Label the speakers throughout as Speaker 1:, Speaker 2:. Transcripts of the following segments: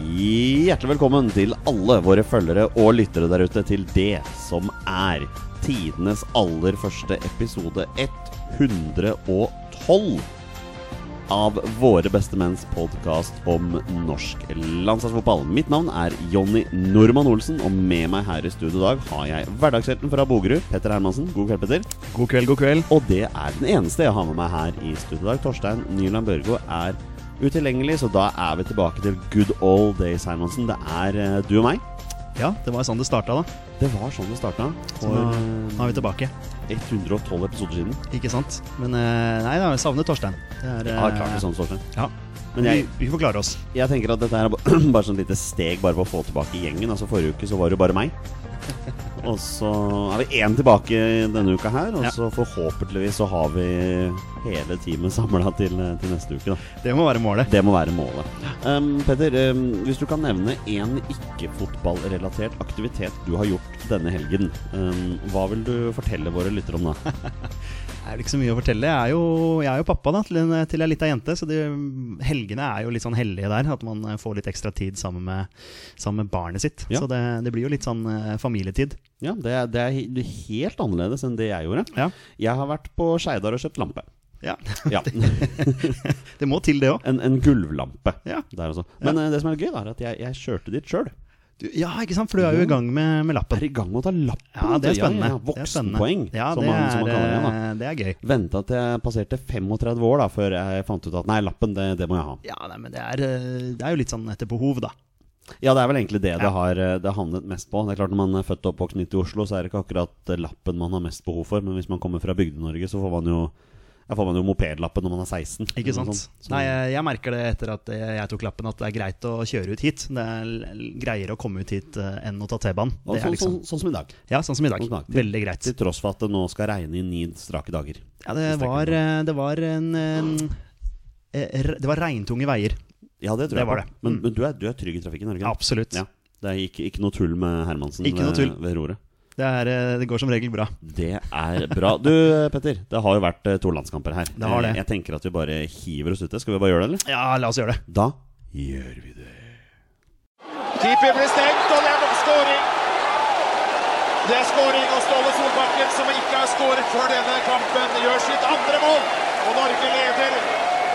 Speaker 1: Hjertelig velkommen til alle våre følgere og lyttere der ute til det som er tidenes aller første episode 112 av Våre beste menns podkast om norsk landslagsfotball. Mitt navn er Jonny Normann Olsen, og med meg her i studio i dag har jeg hverdagshelten fra Bogerud, Petter Hermansen. God kveld, Petter.
Speaker 2: God kveld, god kveld.
Speaker 1: Og det er den eneste jeg har med meg her i studio i dag. Torstein Nyland Børgo er utilgjengelig, så da er vi tilbake til good old days, Hermansen. Det er eh, du og meg.
Speaker 2: Ja, det var sånn det starta, da.
Speaker 1: Det var sånn det starta
Speaker 2: Så
Speaker 1: for
Speaker 2: nå, nå er vi tilbake.
Speaker 1: eh, 112 episoder siden.
Speaker 2: Ikke sant? Men eh, nei, da har vi savnet Torstein. Det er,
Speaker 1: Jeg har
Speaker 2: eh,
Speaker 1: klart det sånn, Torstein.
Speaker 2: Ja.
Speaker 1: Men jeg,
Speaker 2: vi, vi får klare oss.
Speaker 1: jeg tenker at dette her er ba- bare sånn lite steg bare for å få tilbake gjengen. Altså Forrige uke så var det jo bare meg. Og så er vi én tilbake denne uka her. Og
Speaker 2: Ja.
Speaker 1: så forhåpentligvis så har vi hele teamet samla til, til neste uke, da.
Speaker 2: Det må være målet.
Speaker 1: Det må være målet. Um, Petter, um, hvis du kan nevne én ikke-fotballrelatert aktivitet du har gjort denne helgen, um, hva vil du fortelle våre lyttere om da?
Speaker 2: Det er vel ikke så mye å fortelle. Jeg er jo, jeg er jo pappa da, til en, til ei lita jente, så det, helgene er jo litt sånn hellige der. At man eh, får litt ekstra tid sammen med, sammen med barnet sitt.
Speaker 1: Ja.
Speaker 2: Så det, det blir jo litt sånn eh, familietid.
Speaker 1: Ja, det er, det er he- helt annerledes enn det jeg gjorde.
Speaker 2: Ja.
Speaker 1: Jeg har vært på Skeidar og kjøpt lampe.
Speaker 2: ja.
Speaker 1: Ja,
Speaker 2: Det må til, det òg.
Speaker 1: En, en gulvlampe.
Speaker 2: Ja.
Speaker 1: Der også. Men eh, det som er gøy, da, er at jeg, jeg kjørte dit sjøl.
Speaker 2: Du- ja, ikke sant? For du er jo i gang med, med lappen.
Speaker 1: Er i gang med å ta lappen.
Speaker 2: Ja, det er spennende.
Speaker 1: Ja, ja,
Speaker 2: Det er spennende.
Speaker 1: Voksenpoeng,
Speaker 2: Ja,
Speaker 1: som,
Speaker 2: det
Speaker 1: man, som man
Speaker 2: er,
Speaker 1: kaller det. da
Speaker 2: eh, Det er gøy.
Speaker 1: Venta til jeg passerte 35 år da før jeg fant ut at nei, lappen, det, det må jeg ha.
Speaker 2: Ja, nei, men det er, eh, det er jo litt sånn etter behov, da.
Speaker 1: Ja, det er vel egentlig det det har eh, det har handlet mest på. Det er klart Når man er født og oppvokst midt i Oslo, så er det ikke akkurat eh, lappen man har mest behov for. Men hvis man kommer fra Bygde-Norge, så får man jo ja, får man jo mopedlappen når man er 16.
Speaker 2: Ikke
Speaker 1: eller
Speaker 2: sant?
Speaker 1: noe sånt. Så-
Speaker 2: Nei, eh, jeg, jeg merker det etter at eh, jeg tok lappen, at det er greit å kjøre ut hit. Det er l- greiere å komme ut hit eh, enn å ta T-banen.
Speaker 1: Og
Speaker 2: Det
Speaker 1: sånn,
Speaker 2: er liksom,
Speaker 1: sånn, sånn som i dag.
Speaker 2: ja, sånn som i dag.
Speaker 1: sånn som i dag.
Speaker 2: Veldig greit.
Speaker 1: Til tross for at det nå skal regne i ni strake dager.
Speaker 2: Ja, det var, eh, det var en, en eh, re- Det var regntunge veier.
Speaker 1: Ja, det tror
Speaker 2: Det
Speaker 1: jeg.
Speaker 2: var
Speaker 1: på.
Speaker 2: det.
Speaker 1: Men,
Speaker 2: Mm.
Speaker 1: men du, er, du er trygg i trafikken, er du ikke? det?
Speaker 2: Absolutt.
Speaker 1: Ja. Det er ikke, ikke noe tull med Hermansen
Speaker 2: Ikke noe
Speaker 1: ved,
Speaker 2: tull.
Speaker 1: ved roret.
Speaker 2: Det, er, eh, det går som regel bra.
Speaker 1: Det er bra. Du eh, Petter, det har jo vært eh, to landskamper her.
Speaker 2: Det har det.
Speaker 1: Eh, Jeg tenker at vi bare hiver oss ut i det. Skal vi bare gjøre det, eller?
Speaker 2: Ja, la oss gjøre det.
Speaker 1: Da gjør vi det.
Speaker 3: Keeper blir stengt, og det er skåring. Det er skåring, og Ståle Solbakken, som ikke har skåret før denne kampen, gjør sitt andre mål. Og Norge leder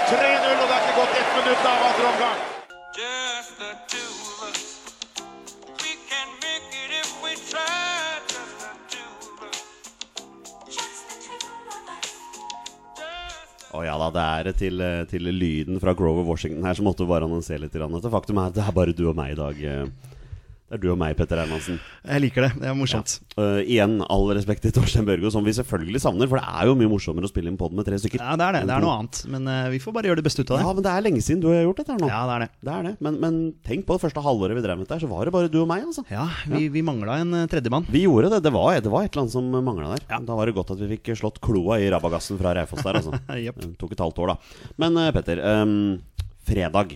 Speaker 3: 3-0, og det er ikke gått ett minutt av andre omgang.
Speaker 4: Just the two of us. We can make it if we try. Just the two of us.
Speaker 5: Just the two of us.
Speaker 4: Just the
Speaker 1: Å ja da, det er til, til lyden fra Grover Washington her, så måtte vi bare annonsere litt. grann at det Faktum er at det er bare du og meg i dag. eh. Det er du og meg, Petter Hermansen.
Speaker 2: Jeg liker det. Det er morsomt.
Speaker 1: Eh, igjen all respekt til Torstein Børgo, som vi selvfølgelig savner. For det er jo mye morsommere å spille inn pod med tre stykker.
Speaker 2: Ja, det er det. Det er noe annet. Men eh, vi får bare gjøre det beste ut av
Speaker 1: Ja,
Speaker 2: det.
Speaker 1: men det er lenge siden du har gjort dette her nå.
Speaker 2: Ja, det er det.
Speaker 1: Det er det. Men, men tenk på det første halvåret vi drev med dette her, så var det bare du og meg, altså.
Speaker 2: Ja, vi, vi mangla en eh, tredjemann.
Speaker 1: Vi gjorde det. Det var, det var et eller annet som mangla der. Da var det godt at vi fikk slått kloa i rabagassen fra Raufoss der, altså.
Speaker 2: Jepp.
Speaker 1: Det tok et halvt år, da. Men eh, Petter, ehm, fredag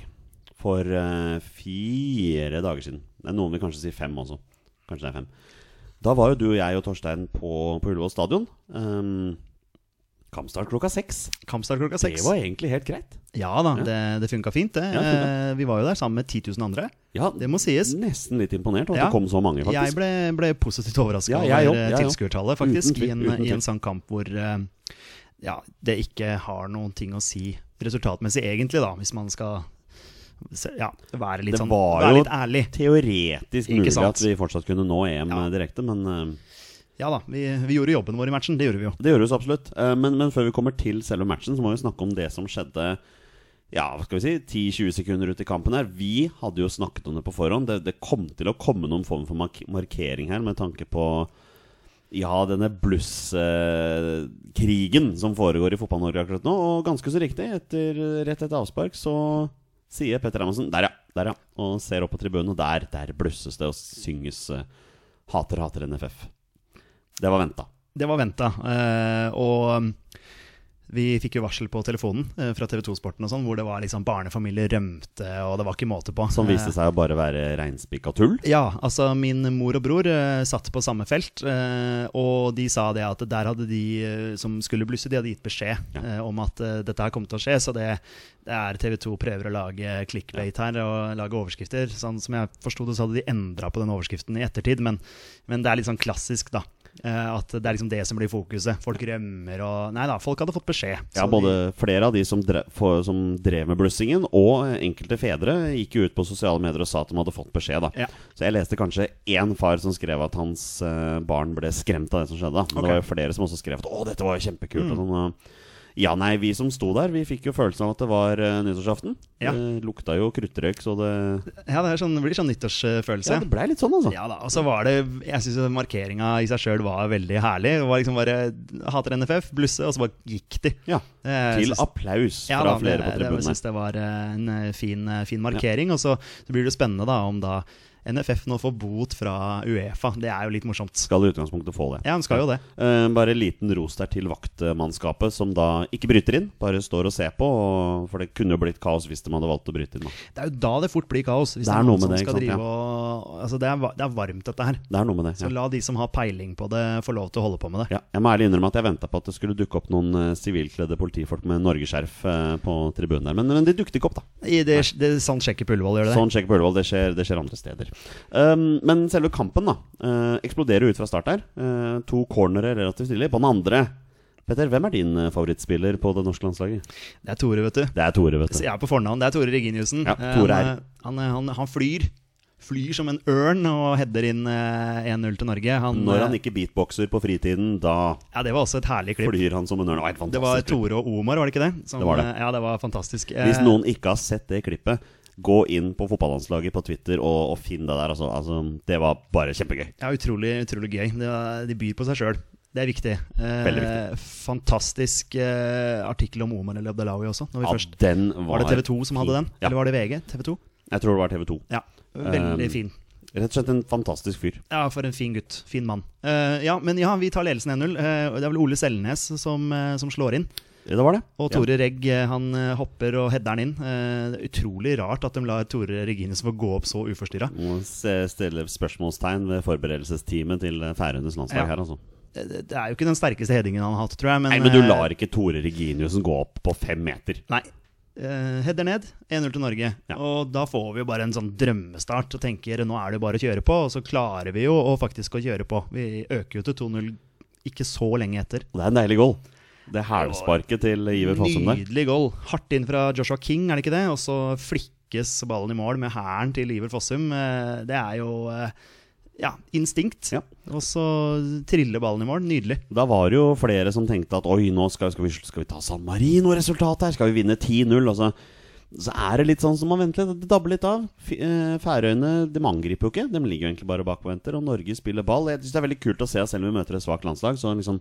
Speaker 1: for eh, fire dager siden Det er noen vil kanskje si fem også. Kanskje det er fem. Da var jo du og jeg og Torstein på, på Ullevål stadion. Um, kampstart klokka seks.
Speaker 2: Kampstart klokka
Speaker 1: Det
Speaker 2: seks.
Speaker 1: var egentlig helt greit.
Speaker 2: Ja da, det, det funka fint, det.
Speaker 1: Ja, det funka.
Speaker 2: Eh, vi var jo der sammen med 10 000 andre.
Speaker 1: Ja,
Speaker 2: Det må sies.
Speaker 1: Nesten litt imponert over
Speaker 2: Ja.
Speaker 1: at det kom så mange, faktisk.
Speaker 2: Jeg ble, ble positivt overraska
Speaker 1: Ja, jeg
Speaker 2: over
Speaker 1: òg,
Speaker 2: eh,
Speaker 1: jeg òg.
Speaker 2: tilskuertallet, faktisk,
Speaker 1: Uten tvil,
Speaker 2: i, en,
Speaker 1: uten
Speaker 2: i
Speaker 1: tvil.
Speaker 2: en sånn kamp hvor eh, ja, det ikke har noen ting å si resultatmessig, egentlig, da, hvis man skal se- ja, være litt,
Speaker 1: Det
Speaker 2: sånn,
Speaker 1: var
Speaker 2: være
Speaker 1: jo-
Speaker 2: litt ærlig.
Speaker 1: Teoretisk
Speaker 2: Ikke
Speaker 1: mulig
Speaker 2: sant?
Speaker 1: at vi fortsatt kunne nå EM
Speaker 2: Ja.
Speaker 1: direkte, men eh,
Speaker 2: Ja da, vi, vi gjorde jobben vår i matchen, det gjorde vi jo.
Speaker 1: Det gjøres absolutt. Eh, Men, men før vi kommer til selve matchen, så må vi snakke om det som skjedde ja, hva skal vi si, 10-20 sekunder ut i kampen her. Vi hadde jo snakket om det på forhånd. Det, det kom til å komme noen form for mark markering her med tanke på ja, denne blusskrigen som foregår i Fotball-Norge akkurat nå. Og ganske så riktig, etter, rett etter avspark så sier Petter Hermansen Der, ja! Der, ja! Og ser opp på tribunen, og der, der blusses det og synges eh, Hater, hater NFF. Det var venta.
Speaker 2: Det var venta. eh, og Vi fikk jo varsel på telefonen eh, fra TV 2-sporten og sånn, hvor det var liksom barnefamilier rømte, og det var ikke måte på.
Speaker 1: Som viste
Speaker 2: Eh,
Speaker 1: seg å bare være reinspikka tull.
Speaker 2: Ja, altså min mor og bror eh, satt på samme felt, eh, og de sa det at der hadde de eh, som skulle blusse, de hadde gitt beskjed
Speaker 1: Ja.
Speaker 2: eh, om at eh, dette her kom til å skje, så det, det er TV 2 prøver å lage clickbait her og lage overskrifter. Sånn som jeg forsto det, så hadde de endra på den overskriften i ettertid, men, men det er litt sånn klassisk, da. eh, At det er liksom det som blir fokuset. Folk rømmer og Nei da, folk hadde fått beskjed.
Speaker 1: Ja,
Speaker 2: så de-
Speaker 1: både flere av de som drev, for, som drev med blussingen, og enkelte fedre gikk jo ut på sosiale medier og sa at de hadde fått beskjed. da
Speaker 2: Ja.
Speaker 1: Så jeg leste kanskje én far som skrev at hans eh, barn ble skremt av det som skjedde. da Men
Speaker 2: Ok. Mm.
Speaker 1: det var jo flere som også skrev at 'å, dette var jo kjempekult'. Og sånn, og- ja, nei, vi som sto der, vi fikk jo følelsen av at det var eh, nyttårsaften.
Speaker 2: Ja.
Speaker 1: Det lukta jo kruttrøyk, så det
Speaker 2: ja, det, er sånn, det blir sånn nyttårsfølelse.
Speaker 1: Ja, det blei litt sånn, altså.
Speaker 2: Ja da, og så var det Jeg syns markeringa i seg sjøl var veldig herlig. Det var liksom bare Hater NFF, blusse, og så bare gikk de.
Speaker 1: Ja.
Speaker 2: Eh,
Speaker 1: Til
Speaker 2: synes-
Speaker 1: applaus
Speaker 2: Ja
Speaker 1: fra
Speaker 2: da,
Speaker 1: flere på
Speaker 2: det- det- Jeg
Speaker 1: tribunene.
Speaker 2: syns det var eh, en eh, fin, eh, fin markering. Og så, så blir det spennende da om da NFF nå får bot fra Uefa. Det er jo litt morsomt.
Speaker 1: Skal i utgangspunktet få det.
Speaker 2: Ja, hun skal jo det.
Speaker 1: Eh, bare en liten ros der til vaktmannskapet, som da ikke bryter inn, bare står og ser på. Og, for det kunne jo blitt kaos hvis de hadde valgt å bryte inn. Da.
Speaker 2: Det er jo da det fort blir kaos. Hvis
Speaker 1: Det
Speaker 2: det
Speaker 1: er
Speaker 2: er
Speaker 1: noe med
Speaker 2: noen som
Speaker 1: det, ikke
Speaker 2: skal
Speaker 1: sant, ja.
Speaker 2: drive og Altså, det er, va- det er varmt, dette her.
Speaker 1: Det er noe med det.
Speaker 2: Så
Speaker 1: Ja.
Speaker 2: la de som har peiling på det, få lov til å holde på med det.
Speaker 1: Ja, jeg må ærlig innrømme at jeg venta på at det skulle dukke opp noen eh, sivilkledde politifolk med norgesskjerf eh, på tribunen der, men, men de dukket ikke opp, da.
Speaker 2: I det, det, sånn sjekker Ullevål, gjør det det?
Speaker 1: Sånn sjekk på Ullevål, det skjer, det skjer andre steder. Um, men selve kampen da eh, eksploderer jo ut fra start her. Eh, to cornere relativt tidlig. På den andre Petter, hvem er din eh, favorittspiller på det norske landslaget?
Speaker 2: Det er Tore, vet du.
Speaker 1: Det er Tore, vet
Speaker 2: Så
Speaker 1: du.
Speaker 2: jeg er på fornavn. Det er Tore Reginiussen.
Speaker 1: Ja,
Speaker 2: Eh,
Speaker 1: Tore
Speaker 2: han,
Speaker 1: er.
Speaker 2: han, han, han flyr. Flyr som en ørn og header inn eh, 1-0 til Norge. Han,
Speaker 1: Når han
Speaker 2: eh,
Speaker 1: ikke beatboxer på fritiden, da
Speaker 2: Ja, Det var også et herlig klipp.
Speaker 1: flyr han som en ørn. Det var helt
Speaker 2: Det var
Speaker 1: fantastisk.
Speaker 2: Tore og Omar, var det ikke det? Som,
Speaker 1: Det var det.
Speaker 2: eh, Ja, det var fantastisk. Eh,
Speaker 1: Hvis noen ikke har sett det klippet, gå inn på fotballandslaget på Twitter og, og finn det der. Altså, altså, det var bare kjempegøy.
Speaker 2: Ja, utrolig, utrolig gøy. Det var, de byr på seg sjøl. Det er viktig. Eh,
Speaker 1: Veldig viktig.
Speaker 2: Fantastisk eh, artikkel om Omar El Abdelawi også. Når vi
Speaker 1: Ja,
Speaker 2: først,
Speaker 1: den
Speaker 2: var
Speaker 1: var
Speaker 2: det TV 2 som hadde den?
Speaker 1: Ja,
Speaker 2: Eller var det VG? TV 2?
Speaker 1: jeg tror det var TV 2.
Speaker 2: Ja, veldig
Speaker 1: Um,
Speaker 2: fin.
Speaker 1: Rett og slett en fantastisk fyr.
Speaker 2: Ja, for en fin gutt. Fin mann. Eh, ja, men ja, vi tar ledelsen 1-0. Eh, og det er vel Ole Selnes som, eh, som slår inn.
Speaker 1: Det var det.
Speaker 2: Og
Speaker 1: Ja.
Speaker 2: Tore Regg eh, han eh, hopper og header den inn. Eh, det er utrolig rart at de lar Tore Regines få gå opp så uforstyrra.
Speaker 1: Må se- stille spørsmålstegn ved forberedelsesteamet til eh, Færøyenes landslag
Speaker 2: Ja.
Speaker 1: her, altså.
Speaker 2: Eh, Det det er jo ikke den sterkeste headingen han har hatt, tror jeg. Men,
Speaker 1: Nei, men du
Speaker 2: eh,
Speaker 1: lar ikke Tore Reginiussen gå opp på fem meter.
Speaker 2: Nei. Eh, header ned, 1-0 til Norge.
Speaker 1: Ja.
Speaker 2: Og da får vi jo bare en sånn drømmestart og tenker nå er det bare å kjøre på. Og så klarer vi jo å faktisk å kjøre på. Vi øker jo til 2-0 ikke så lenge etter.
Speaker 1: Og det er en deilig goal. Det hælsparket til Iver Fossum der.
Speaker 2: Nydelig goal. Hardt inn fra Joshua King, er det ikke det? Og så flikkes ballen i mål med hæren til Iver Fossum. Eh, Det er jo eh, ja, instinkt.
Speaker 1: Ja.
Speaker 2: Og så triller ballen i mål. Nydelig.
Speaker 1: Da var det jo flere som tenkte at oi, nå skal, skal, vi, skal vi ta San Marino-resultatet her, skal vi vinne 10-0? Og så, så er det litt sånn som man venter litt, det dabber litt av. F eh, Færøyene de angriper jo ikke, de ligger jo egentlig bare bak og venter. Og Norge spiller ball. Jeg synes det er veldig kult å se, selv om vi møter et svakt landslag, så liksom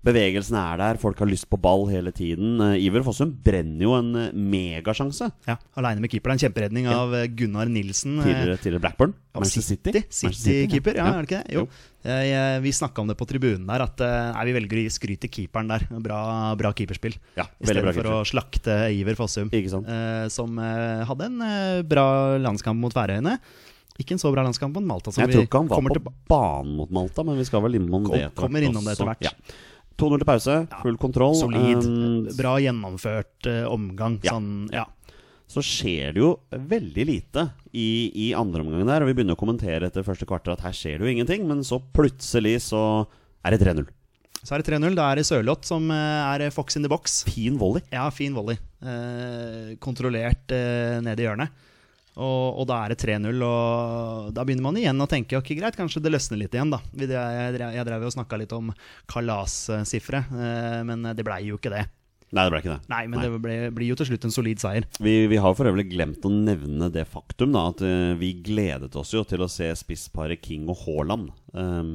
Speaker 1: Bevegelsen er der, folk har lyst på ball hele tiden. Eh, Iver Fossum brenner jo en eh, megasjanse.
Speaker 2: Ja, Aleine med keeper. Det er En kjemperedning av eh, Gunnar Nilsen. eh,
Speaker 1: Tidligere, tidligere Blackburn.
Speaker 2: Ja,
Speaker 1: Manchester City. Manchester City, ja.
Speaker 2: City-keeper, ja, er det ikke det? Jo.
Speaker 1: Jo.
Speaker 2: Jeg, eh, vi snakka om det på tribunen der, at eh, nei, vi velger å gi skryt til keeperen der. Bra, bra keeperspill.
Speaker 1: Ja, veldig bra
Speaker 2: Istedenfor å slakte Iver Fossum,
Speaker 1: Ikke sant.
Speaker 2: eh, som eh, hadde en eh, bra landskamp mot Færøyene. Ikke en så bra landskamp mot Malta. Som
Speaker 1: jeg tror
Speaker 2: vi
Speaker 1: ikke han var
Speaker 2: kommer
Speaker 1: på
Speaker 2: tilba-
Speaker 1: banen mot Malta, men vi skal vel innom
Speaker 2: Kom-
Speaker 1: det etter hvert
Speaker 2: kommer innom
Speaker 1: også.
Speaker 2: det etter hvert.
Speaker 1: Ja. 2-0 til pause, full kontroll.
Speaker 2: Solid.
Speaker 1: Um,
Speaker 2: bra gjennomført eh, omgang.
Speaker 1: Ja.
Speaker 2: Sånn, ja.
Speaker 1: så skjer det jo veldig lite i, i andre omgang der, og vi begynner å kommentere etter første kvarter at her skjer det jo ingenting, men så plutselig så er det 3-0.
Speaker 2: Så er det 3-0. Da er det Sørloth som eh, er Fox in the box.
Speaker 1: Fin volley.
Speaker 2: Ja, fin volley. Eh, kontrollert eh, ned i hjørnet. Og, og da er det 3-0, og da begynner man igjen å tenke ok, greit, kanskje det løsner litt igjen, da. Vi dre- Jeg drev, jeg drev jo og snakka litt om kalassifre, eh, men det blei jo ikke det.
Speaker 1: Nei, det ble ikke det.
Speaker 2: Nei, men det ble, blir jo til slutt en solid seier.
Speaker 1: Vi, vi har for øvrig glemt å nevne det faktum da, at eh, vi gledet oss jo til å se spissparet King og Haaland. Um,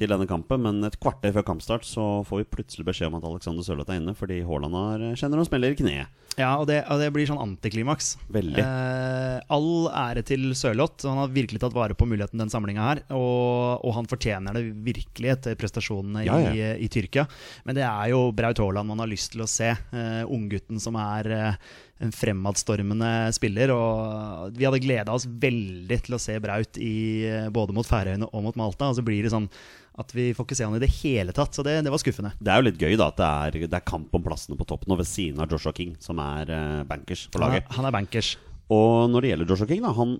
Speaker 1: til denne kampen. Men et kvarter før kampstart så får vi plutselig beskjed om at Alexander Sørloth er inne fordi Haaland har eh, kjenner han smeller i kneet.
Speaker 2: Ja, og det, og det blir sånn antiklimaks.
Speaker 1: Veldig.
Speaker 2: Eh, all ære til Sørloth. Han har virkelig tatt vare på muligheten den samlinga her. Og, og han fortjener det virkelig etter prestasjonene
Speaker 1: Ja, ja.
Speaker 2: I, i Tyrkia. Men det er jo Braut Haaland man har lyst til å se. Eh, Unggutten som er eh, en fremadstormende spiller. Og vi hadde gleda oss veldig til å se Braut i, eh, både mot Færøyene og mot Malta. Og så blir det sånn at vi får ikke se han i det hele tatt. Så det, det var skuffende.
Speaker 1: Det er jo litt gøy da at det er, det er kamp om plassene på toppen og ved siden av Joshua King, som er eh, bankers for
Speaker 2: Han
Speaker 1: laget.
Speaker 2: er, han er bankers.
Speaker 1: Og når det gjelder Joshua King, da Han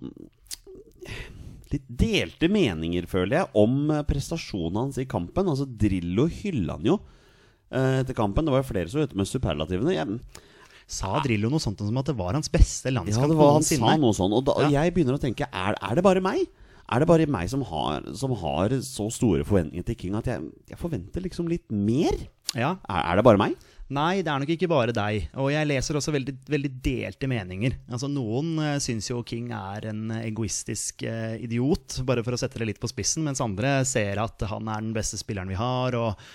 Speaker 1: Litt delte meninger, føler jeg, om eh, prestasjonen hans i kampen. Altså, Drillo hylla han jo eh, etter kampen. Det var jo flere som var ute med superlativene. Jeg,
Speaker 2: Sa Drillo noe sånt som at det var hans beste
Speaker 1: ja,
Speaker 2: landskamp
Speaker 1: det var, han sa
Speaker 2: noensinne?
Speaker 1: noe sånn. Og da, og
Speaker 2: Ja.
Speaker 1: jeg begynner å tenke er, er det bare meg? Er det bare meg som har, som har så store forventninger til King at jeg, jeg forventer liksom litt mer?
Speaker 2: Ja.
Speaker 1: Er, er det bare meg?
Speaker 2: Nei, det er nok ikke bare deg. Og jeg leser også veldig, veldig delte meninger. Altså, noen uh, syns jo King er en egoistisk eh, idiot, bare for å sette det litt på spissen, mens andre ser at han er den beste spilleren vi har. og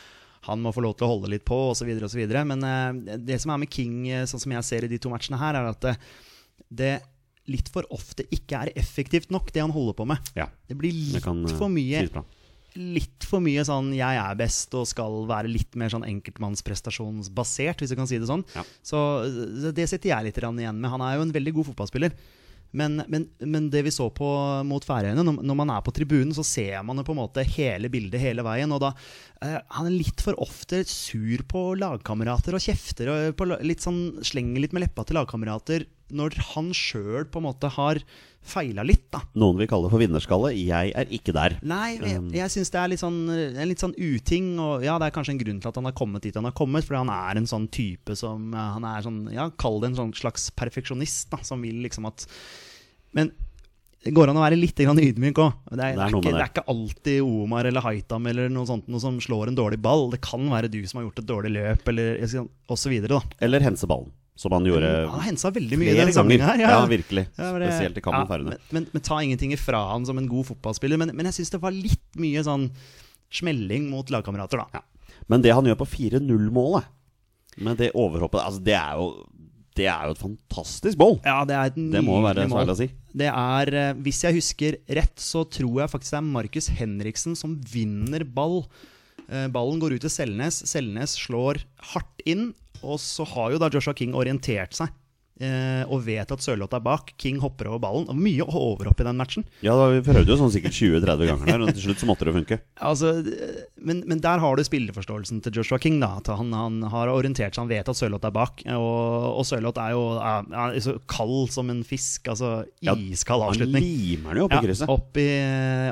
Speaker 2: han må få lov til å holde litt på, osv. osv. Men eh, det som er med King, eh, sånn som jeg ser i de to matchene her, er at eh, det litt for ofte ikke er effektivt nok, det han holder på med.
Speaker 1: Ja.
Speaker 2: Det blir
Speaker 1: Det
Speaker 2: litt
Speaker 1: kan, eh,
Speaker 2: for mye
Speaker 1: sies bra.
Speaker 2: litt for mye sånn 'jeg er best' og skal være litt mer sånn enkeltmannsprestasjonsbasert, hvis du kan si det sånn.
Speaker 1: Ja.
Speaker 2: Så så det sitter jeg litt grann igjen med. Han er jo en veldig god fotballspiller. Men, men, men det vi så på mot Færøyene, når, når man er på tribunen, så ser man jo på en måte hele bildet hele veien. Og da eh, han er litt for ofte sur på lagkamerater og kjefter og på, la- litt sånn, slenger litt med leppa til lagkamerater når han sjøl på en måte har feila litt, da.
Speaker 1: Noen vil kalle det for vinnerskalle. Jeg er ikke der.
Speaker 2: Nei, jeg,
Speaker 1: Um,
Speaker 2: jeg syns det er litt sånn, en litt sånn uting. Og ja, det er kanskje en grunn til at han har kommet dit han har kommet, fordi han er en sånn type som eh, Han er sånn, ja, kall det en sånn slags perfeksjonist, da, som vil liksom at Men det går an å være litt grann ydmyk òg.
Speaker 1: Det
Speaker 2: Det, er- det,
Speaker 1: er
Speaker 2: er
Speaker 1: noe
Speaker 2: ikke-
Speaker 1: med
Speaker 2: det er
Speaker 1: det.
Speaker 2: ikke alltid Omar eller Haitam eller noe sånt noe som slår en dårlig ball. Det kan være du som har gjort et dårlig løp, eller jeg skal- sånn, og så videre, da.
Speaker 1: Eller hense ballen, som han gjorde
Speaker 2: Han har hensa veldig mye i
Speaker 1: Eh, flere
Speaker 2: denne samlingen
Speaker 1: ganger.
Speaker 2: her.
Speaker 1: Ja, virkelig.
Speaker 2: Ja, men det-
Speaker 1: Spesielt i kampen
Speaker 2: ja,
Speaker 1: Færøyene.
Speaker 2: Men, men, men ta ingenting ifra han som en god fotballspiller. Men, men jeg syns det var litt mye sånn smelling mot lagkamerater, da.
Speaker 1: Ja. Men det han gjør på 4-0-målet Med det overhoppet altså det, er jo, det er jo et fantastisk mål!
Speaker 2: Ja, det er et
Speaker 1: Det må være
Speaker 2: nydelig
Speaker 1: så
Speaker 2: mål.
Speaker 1: ærlig å si.
Speaker 2: Det er, eh, hvis jeg husker rett, så tror jeg faktisk det er Markus Henriksen som vinner ball. Eh, Ballen går ut til Selnes. Selnes slår hardt inn, og så har jo da Joshua King orientert seg. eh, Og vet at Sørloth er bak. King hopper over ballen. Og mye overhopp i den matchen.
Speaker 1: Ja, da, Vi prøvde jo sånn sikkert 20-30 ganger der, og til slutt så måtte det funke.
Speaker 2: Altså, d- men, men der har du spilleforståelsen til Joshua King. da at Han, han har orientert seg, han vet at Sørloth er bak. Og, og Sørloth er jo er, er så kald som en fisk. Altså
Speaker 1: Ja,
Speaker 2: iskald
Speaker 1: Han
Speaker 2: avslutning.
Speaker 1: limer den jo opp i krysset.
Speaker 2: opp i,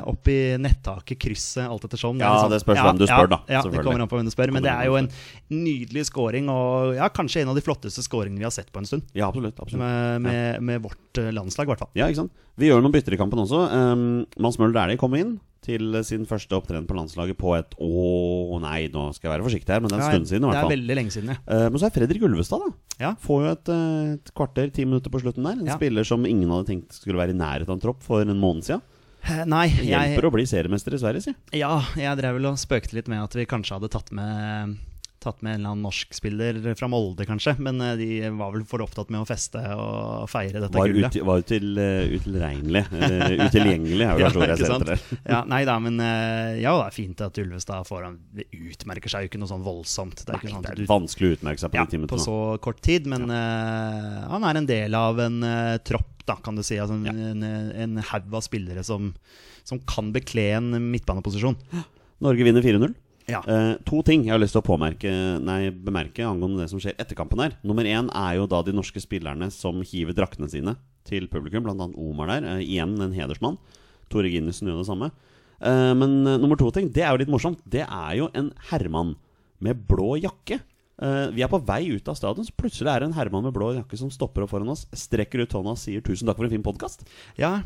Speaker 2: opp i nettaket, krysset, alt ettersom.
Speaker 1: Ja, det spørs hvem du spør, da,
Speaker 2: liksom- Ja, det
Speaker 1: selvfølgelig.
Speaker 2: kommer an på hvem du spør. Men
Speaker 1: Kommer
Speaker 2: det
Speaker 1: an på
Speaker 2: er jo
Speaker 1: hvem
Speaker 2: en nydelig scoring, og ja, kanskje en av de flotteste scoringene vi har sett på en stund.
Speaker 1: Ja, absolutt. absolutt.
Speaker 2: Med, med, med vårt eh, landslag, i hvert fall.
Speaker 1: Ja, ikke sant? Vi gjør noen bytter i kampen også. Um, Mads Møller Dæhlie kom inn til sin første opptreden på landslaget på et Å nei, nå skal jeg være forsiktig her, men det er en stund siden i
Speaker 2: det
Speaker 1: hvert
Speaker 2: er
Speaker 1: fall.
Speaker 2: veldig lenge siden, ja.
Speaker 1: Eh, men så er Fredrik Ulvestad, da.
Speaker 2: Ja.
Speaker 1: Får jo et, eh, et kvarter, ti minutter på slutten der. En
Speaker 2: Ja.
Speaker 1: spiller som ingen hadde tenkt skulle være i nærheten av en tropp for en måned siden.
Speaker 2: Eh, Nei,
Speaker 1: Det
Speaker 2: jeg,
Speaker 1: hjelper å bli seriemester i Sverige, si.
Speaker 2: Ja, jeg drev vel og spøkte litt med at vi kanskje hadde tatt med Tatt med en eller annen norsk spiller fra Molde, kanskje. Men eh, de var vel for opptatt med å feste og feire dette
Speaker 1: Var,
Speaker 2: gullet.
Speaker 1: ut, var util, eh, utilregnelig. eh, utilgjengelig er vel
Speaker 2: Ja,
Speaker 1: kanskje ordet jeg
Speaker 2: ikke
Speaker 1: ser etter.
Speaker 2: sant? ja, nei da, men eh, ja, det er fint at Ulvestad får han det utmerker seg jo ikke noe sånn voldsomt. Det er
Speaker 1: Nei,
Speaker 2: ikke sånn
Speaker 1: det
Speaker 2: at
Speaker 1: er
Speaker 2: du
Speaker 1: vanskelig å utmerke seg på
Speaker 2: ja,
Speaker 1: de timene.
Speaker 2: på
Speaker 1: nå.
Speaker 2: så kort tid, men eh, han er en del av en eh, tropp, da, kan du si. Altså, en- En, en haug av spillere som, som kan bekle en midtbaneposisjon.
Speaker 1: Norge vinner 4-0.
Speaker 2: Ja.
Speaker 1: Eh, to ting jeg har lyst til å påmerke, nei, bemerke angående det som skjer etter kampen her. Nummer én er jo da de norske spillerne som hiver draktene sine til publikum, bl.a. Omar der. eh, igjen en hedersmann. Tore Ginnesen gjør det samme. Eh, men eh, nummer to ting, det er jo litt morsomt. Det er jo en herremann med blå jakke. Eh, vi er på vei ut av stadion, så plutselig er det en herremann med blå jakke som stopper opp foran oss, strekker ut hånda og sier 'tusen takk for en fin podkast'.
Speaker 2: Ja,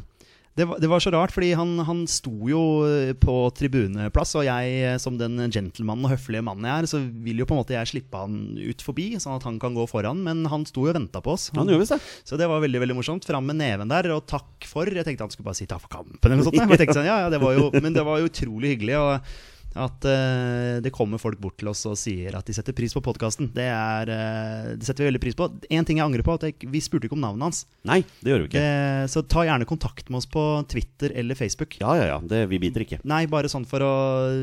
Speaker 2: det var, det var så rart, fordi han, han sto jo eh, på tribuneplass, og jeg eh, som den gentlemanen og høflige mannen jeg er, så vil jo på en måte jeg slippe han ut forbi, sånn at han kan gå foran, men han sto jo og venta på oss.
Speaker 1: Han gjorde visst det.
Speaker 2: Så det var veldig veldig morsomt. Fram med neven der, og takk for. Jeg tenkte han skulle bare si takk for kampen eller noe sånt. Jeg bare tenkte sånn, ja, ja, det var jo, men det var jo utrolig hyggelig. og At eh, det kommer folk bort til oss og sier at de setter pris på podkasten. Det, er, eh, det setter vi veldig pris på. En ting jeg angrer på, at jeg, ikke- vi spurte ikke om navnet hans.
Speaker 1: Nei, det gjør vi ikke.
Speaker 2: Eh, så ta gjerne kontakt med oss på Twitter eller Facebook.
Speaker 1: Ja, ja, ja. Det, vi biter ikke.
Speaker 2: Nei, bare sånn for å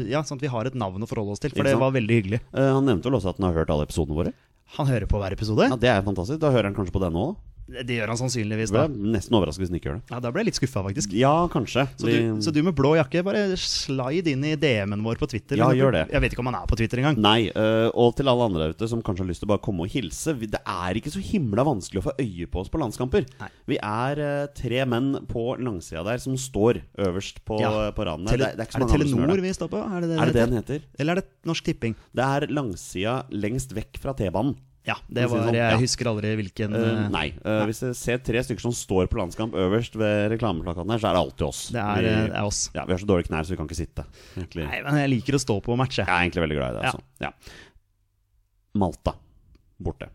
Speaker 2: Ja, sånn at vi har et navn å forholde oss til.
Speaker 1: Ikke
Speaker 2: For det
Speaker 1: sant?
Speaker 2: var veldig hyggelig.
Speaker 1: Eh, han nevnte vel også at han har hørt alle episodene våre.
Speaker 2: Han hører på hver episode.
Speaker 1: Ja, Det er fantastisk. Da hører han kanskje på denne òg.
Speaker 2: Det gjør han sannsynligvis,
Speaker 1: Det
Speaker 2: da.
Speaker 1: er nesten overraskende hvis han ikke gjør det.
Speaker 2: Ja, Da ble jeg litt skuffa, faktisk.
Speaker 1: Ja, kanskje.
Speaker 2: Så du, så du med blå jakke, bare slide inn i DM-en vår på Twitter.
Speaker 1: Ja,
Speaker 2: Men
Speaker 1: gjør det.
Speaker 2: Jeg vet ikke om han er på Twitter engang.
Speaker 1: Nei, øh, og til alle andre der ute som kanskje har lyst til å bare komme og hilse. vi- Det er ikke så himla vanskelig å få øye på oss på landskamper.
Speaker 2: Nei.
Speaker 1: Vi er øh, tre menn på langsida der som står øverst på, eh,
Speaker 2: Ja.
Speaker 1: på raden. der. Det,
Speaker 2: Tele,
Speaker 1: er- det er ikke så
Speaker 2: det
Speaker 1: mange andre som
Speaker 2: Telenor
Speaker 1: gjør det.
Speaker 2: vi står på? Er det det,
Speaker 1: Er det det den heter?
Speaker 2: Eller er det Norsk Tipping?
Speaker 1: Det er langsida lengst vekk fra T-banen.
Speaker 2: Ja, det
Speaker 1: Vi sier
Speaker 2: var
Speaker 1: sånn,
Speaker 2: Jeg
Speaker 1: ja.
Speaker 2: husker aldri hvilken
Speaker 1: Øh,
Speaker 2: eh,
Speaker 1: nei. Øh, Hvis dere ser tre stykker som står på landskamp øverst ved reklameplakaten her, så er det alltid oss.
Speaker 2: Det er,
Speaker 1: vi,
Speaker 2: eh, det er oss.
Speaker 1: Ja, vi har så dårlige knær, så vi kan ikke sitte. Egentlig.
Speaker 2: Nei, men jeg liker å stå på og
Speaker 1: Jeg
Speaker 2: matche.
Speaker 1: er egentlig veldig glad i det.
Speaker 2: Ja.
Speaker 1: Altså. Ja. Malta borte.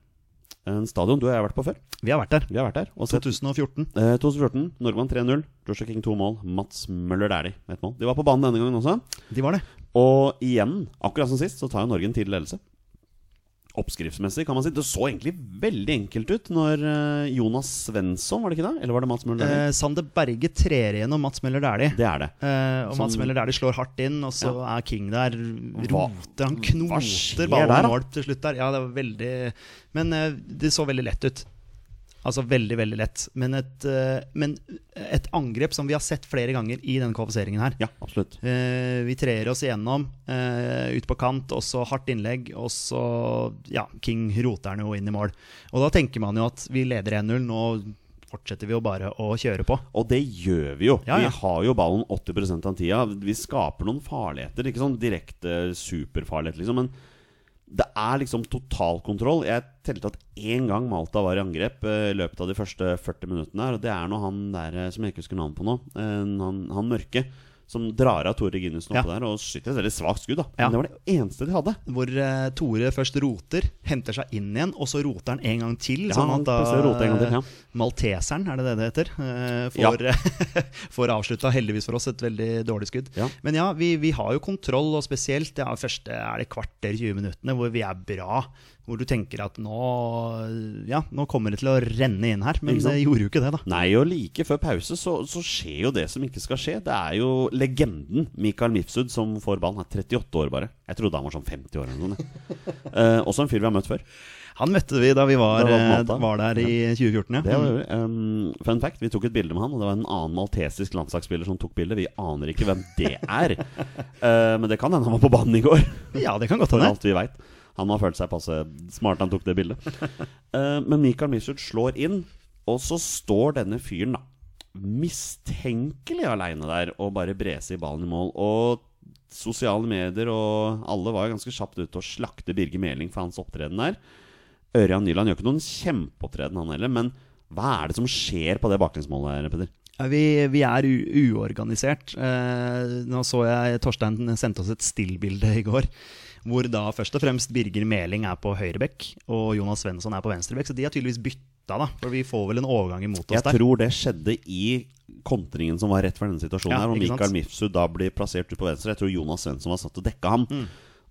Speaker 1: En stadion du og jeg har vært på før.
Speaker 2: Vi har vært der.
Speaker 1: Vi har vært der. Og sett
Speaker 2: 2014.
Speaker 1: Eh, 2014. Norge vant 3-0. Joshua King to mål. Mats Møller Dæhlie med ett mål. De var på banen denne gangen også.
Speaker 2: De var det.
Speaker 1: Og igjen, akkurat som sist, så tar jo Norge en tidlig ledelse. Oppskriftsmessig, kan man si. Det så egentlig veldig enkelt ut når eh, Jonas Svensson, var det ikke det? Eller var det Mats Møller Dæhlie?
Speaker 2: Eh, Sander Berge trer igjennom Mats Møller Dæhlie.
Speaker 1: Mhm. Det er det.
Speaker 2: Eh, og Mats
Speaker 1: Som-
Speaker 2: Møller Dæhlie slår hardt inn, og så er King der.
Speaker 1: Hva-
Speaker 2: Roter, han
Speaker 1: hva skjer
Speaker 2: knoter
Speaker 1: der,
Speaker 2: ballen i
Speaker 1: da?
Speaker 2: mål til slutt der. Ja, det var veldig Men eh, det så veldig lett ut. Altså veldig, veldig lett. Men et, eh, men et angrep som vi har sett flere ganger i denne kvalifiseringen her.
Speaker 1: Ja, absolutt.
Speaker 2: Eh, vi trer oss igjennom, eh, ut på kant, og så hardt innlegg, og så Ja, King roter den jo inn i mål. Og da tenker man jo at vi leder 1-0, nå fortsetter vi jo bare å kjøre på.
Speaker 1: Og det gjør vi jo.
Speaker 2: Ja, ja.
Speaker 1: Vi har jo ballen 80 av tida. Vi skaper noen farligheter. Ikke sånn direkte superfarlighet, liksom, men det er liksom totalkontroll. Jeg telte at én gang Malta var i angrep eh, i løpet av de første 40 minuttene her, og det er når han der eh, som jeg ikke husker navnet på nå, eh, han, han mørke, som drar av Tore Ginussen oppe
Speaker 2: Ja.
Speaker 1: der og skyter et veldig svakt skudd, da.
Speaker 2: Ja.
Speaker 1: Men det var det eneste de hadde.
Speaker 2: Hvor eh, Tore først roter, henter seg inn igjen, og så roter han en gang til.
Speaker 1: Ja,
Speaker 2: sånn
Speaker 1: han
Speaker 2: at da
Speaker 1: presterer å rote en gang til, ja.
Speaker 2: Malteseren, er det det det heter, eh, får, får avslutta, heldigvis for oss, et veldig dårlig skudd.
Speaker 1: Ja.
Speaker 2: Men ja, vi, vi har jo kontroll, og spesielt ja, første er det kvarter 20 minuttene hvor vi er bra. Hvor du tenker at nå, ja, nå kommer det til å renne inn her. Men
Speaker 1: Ikke sant?
Speaker 2: det gjorde jo ikke det, da.
Speaker 1: Nei, og like før pause så, så skjer jo det som ikke skal skje. Det er jo legenden Mikael Mifsud som får ballen. Han er 38 år bare. Jeg trodde han var sånn 50 år eller noe sånt. jeg. Eh, også en fyr vi har møtt før.
Speaker 2: Han møtte vi da vi var,
Speaker 1: Da var på
Speaker 2: eh,
Speaker 1: Malta.
Speaker 2: var der i 2014, ja.
Speaker 1: Det var, jo, ehm, fun fact, vi tok et bilde med han, og det var en annen maltesisk landslagsspiller som tok bildet. Vi aner ikke hvem det er. Eh, men det kan hende han var på banen i går.
Speaker 2: Mm. Ja, det kan godt
Speaker 1: For
Speaker 2: hende.
Speaker 1: alt vi vet. Han må ha følt seg passe smart han tok det bildet. Eh, men Mikael Misut slår inn, og så står denne fyren da mistenkelig aleine der og bare breser i ballen i mål. Og sosiale medier og alle var jo ganske kjapt ute og slakte Birger Meling for hans opptreden der. Ørjan Nyland gjør ikke noen kjempeopptreden, han heller, men hva er det som skjer på det baklengsmålet her, Peder?
Speaker 2: Ja, Vi, vi er u uorganisert. Eh, nå så jeg Torstein sendte oss et stillbilde i går. Hvor da først og fremst Birger Meling er på høyrebekk og Jonas Svensson er på venstrebekk. Så de har tydeligvis bytta, da. For vi får vel en overgang imot oss
Speaker 1: Jeg
Speaker 2: der.
Speaker 1: tror det skjedde i kontringen som var rett for denne situasjonen.
Speaker 2: Ja,
Speaker 1: her, hvor
Speaker 2: ikke sant?
Speaker 1: Mikael Mifsud da blir plassert ut på venstre. Jeg tror Jonas Svensson var satt og dekka ham.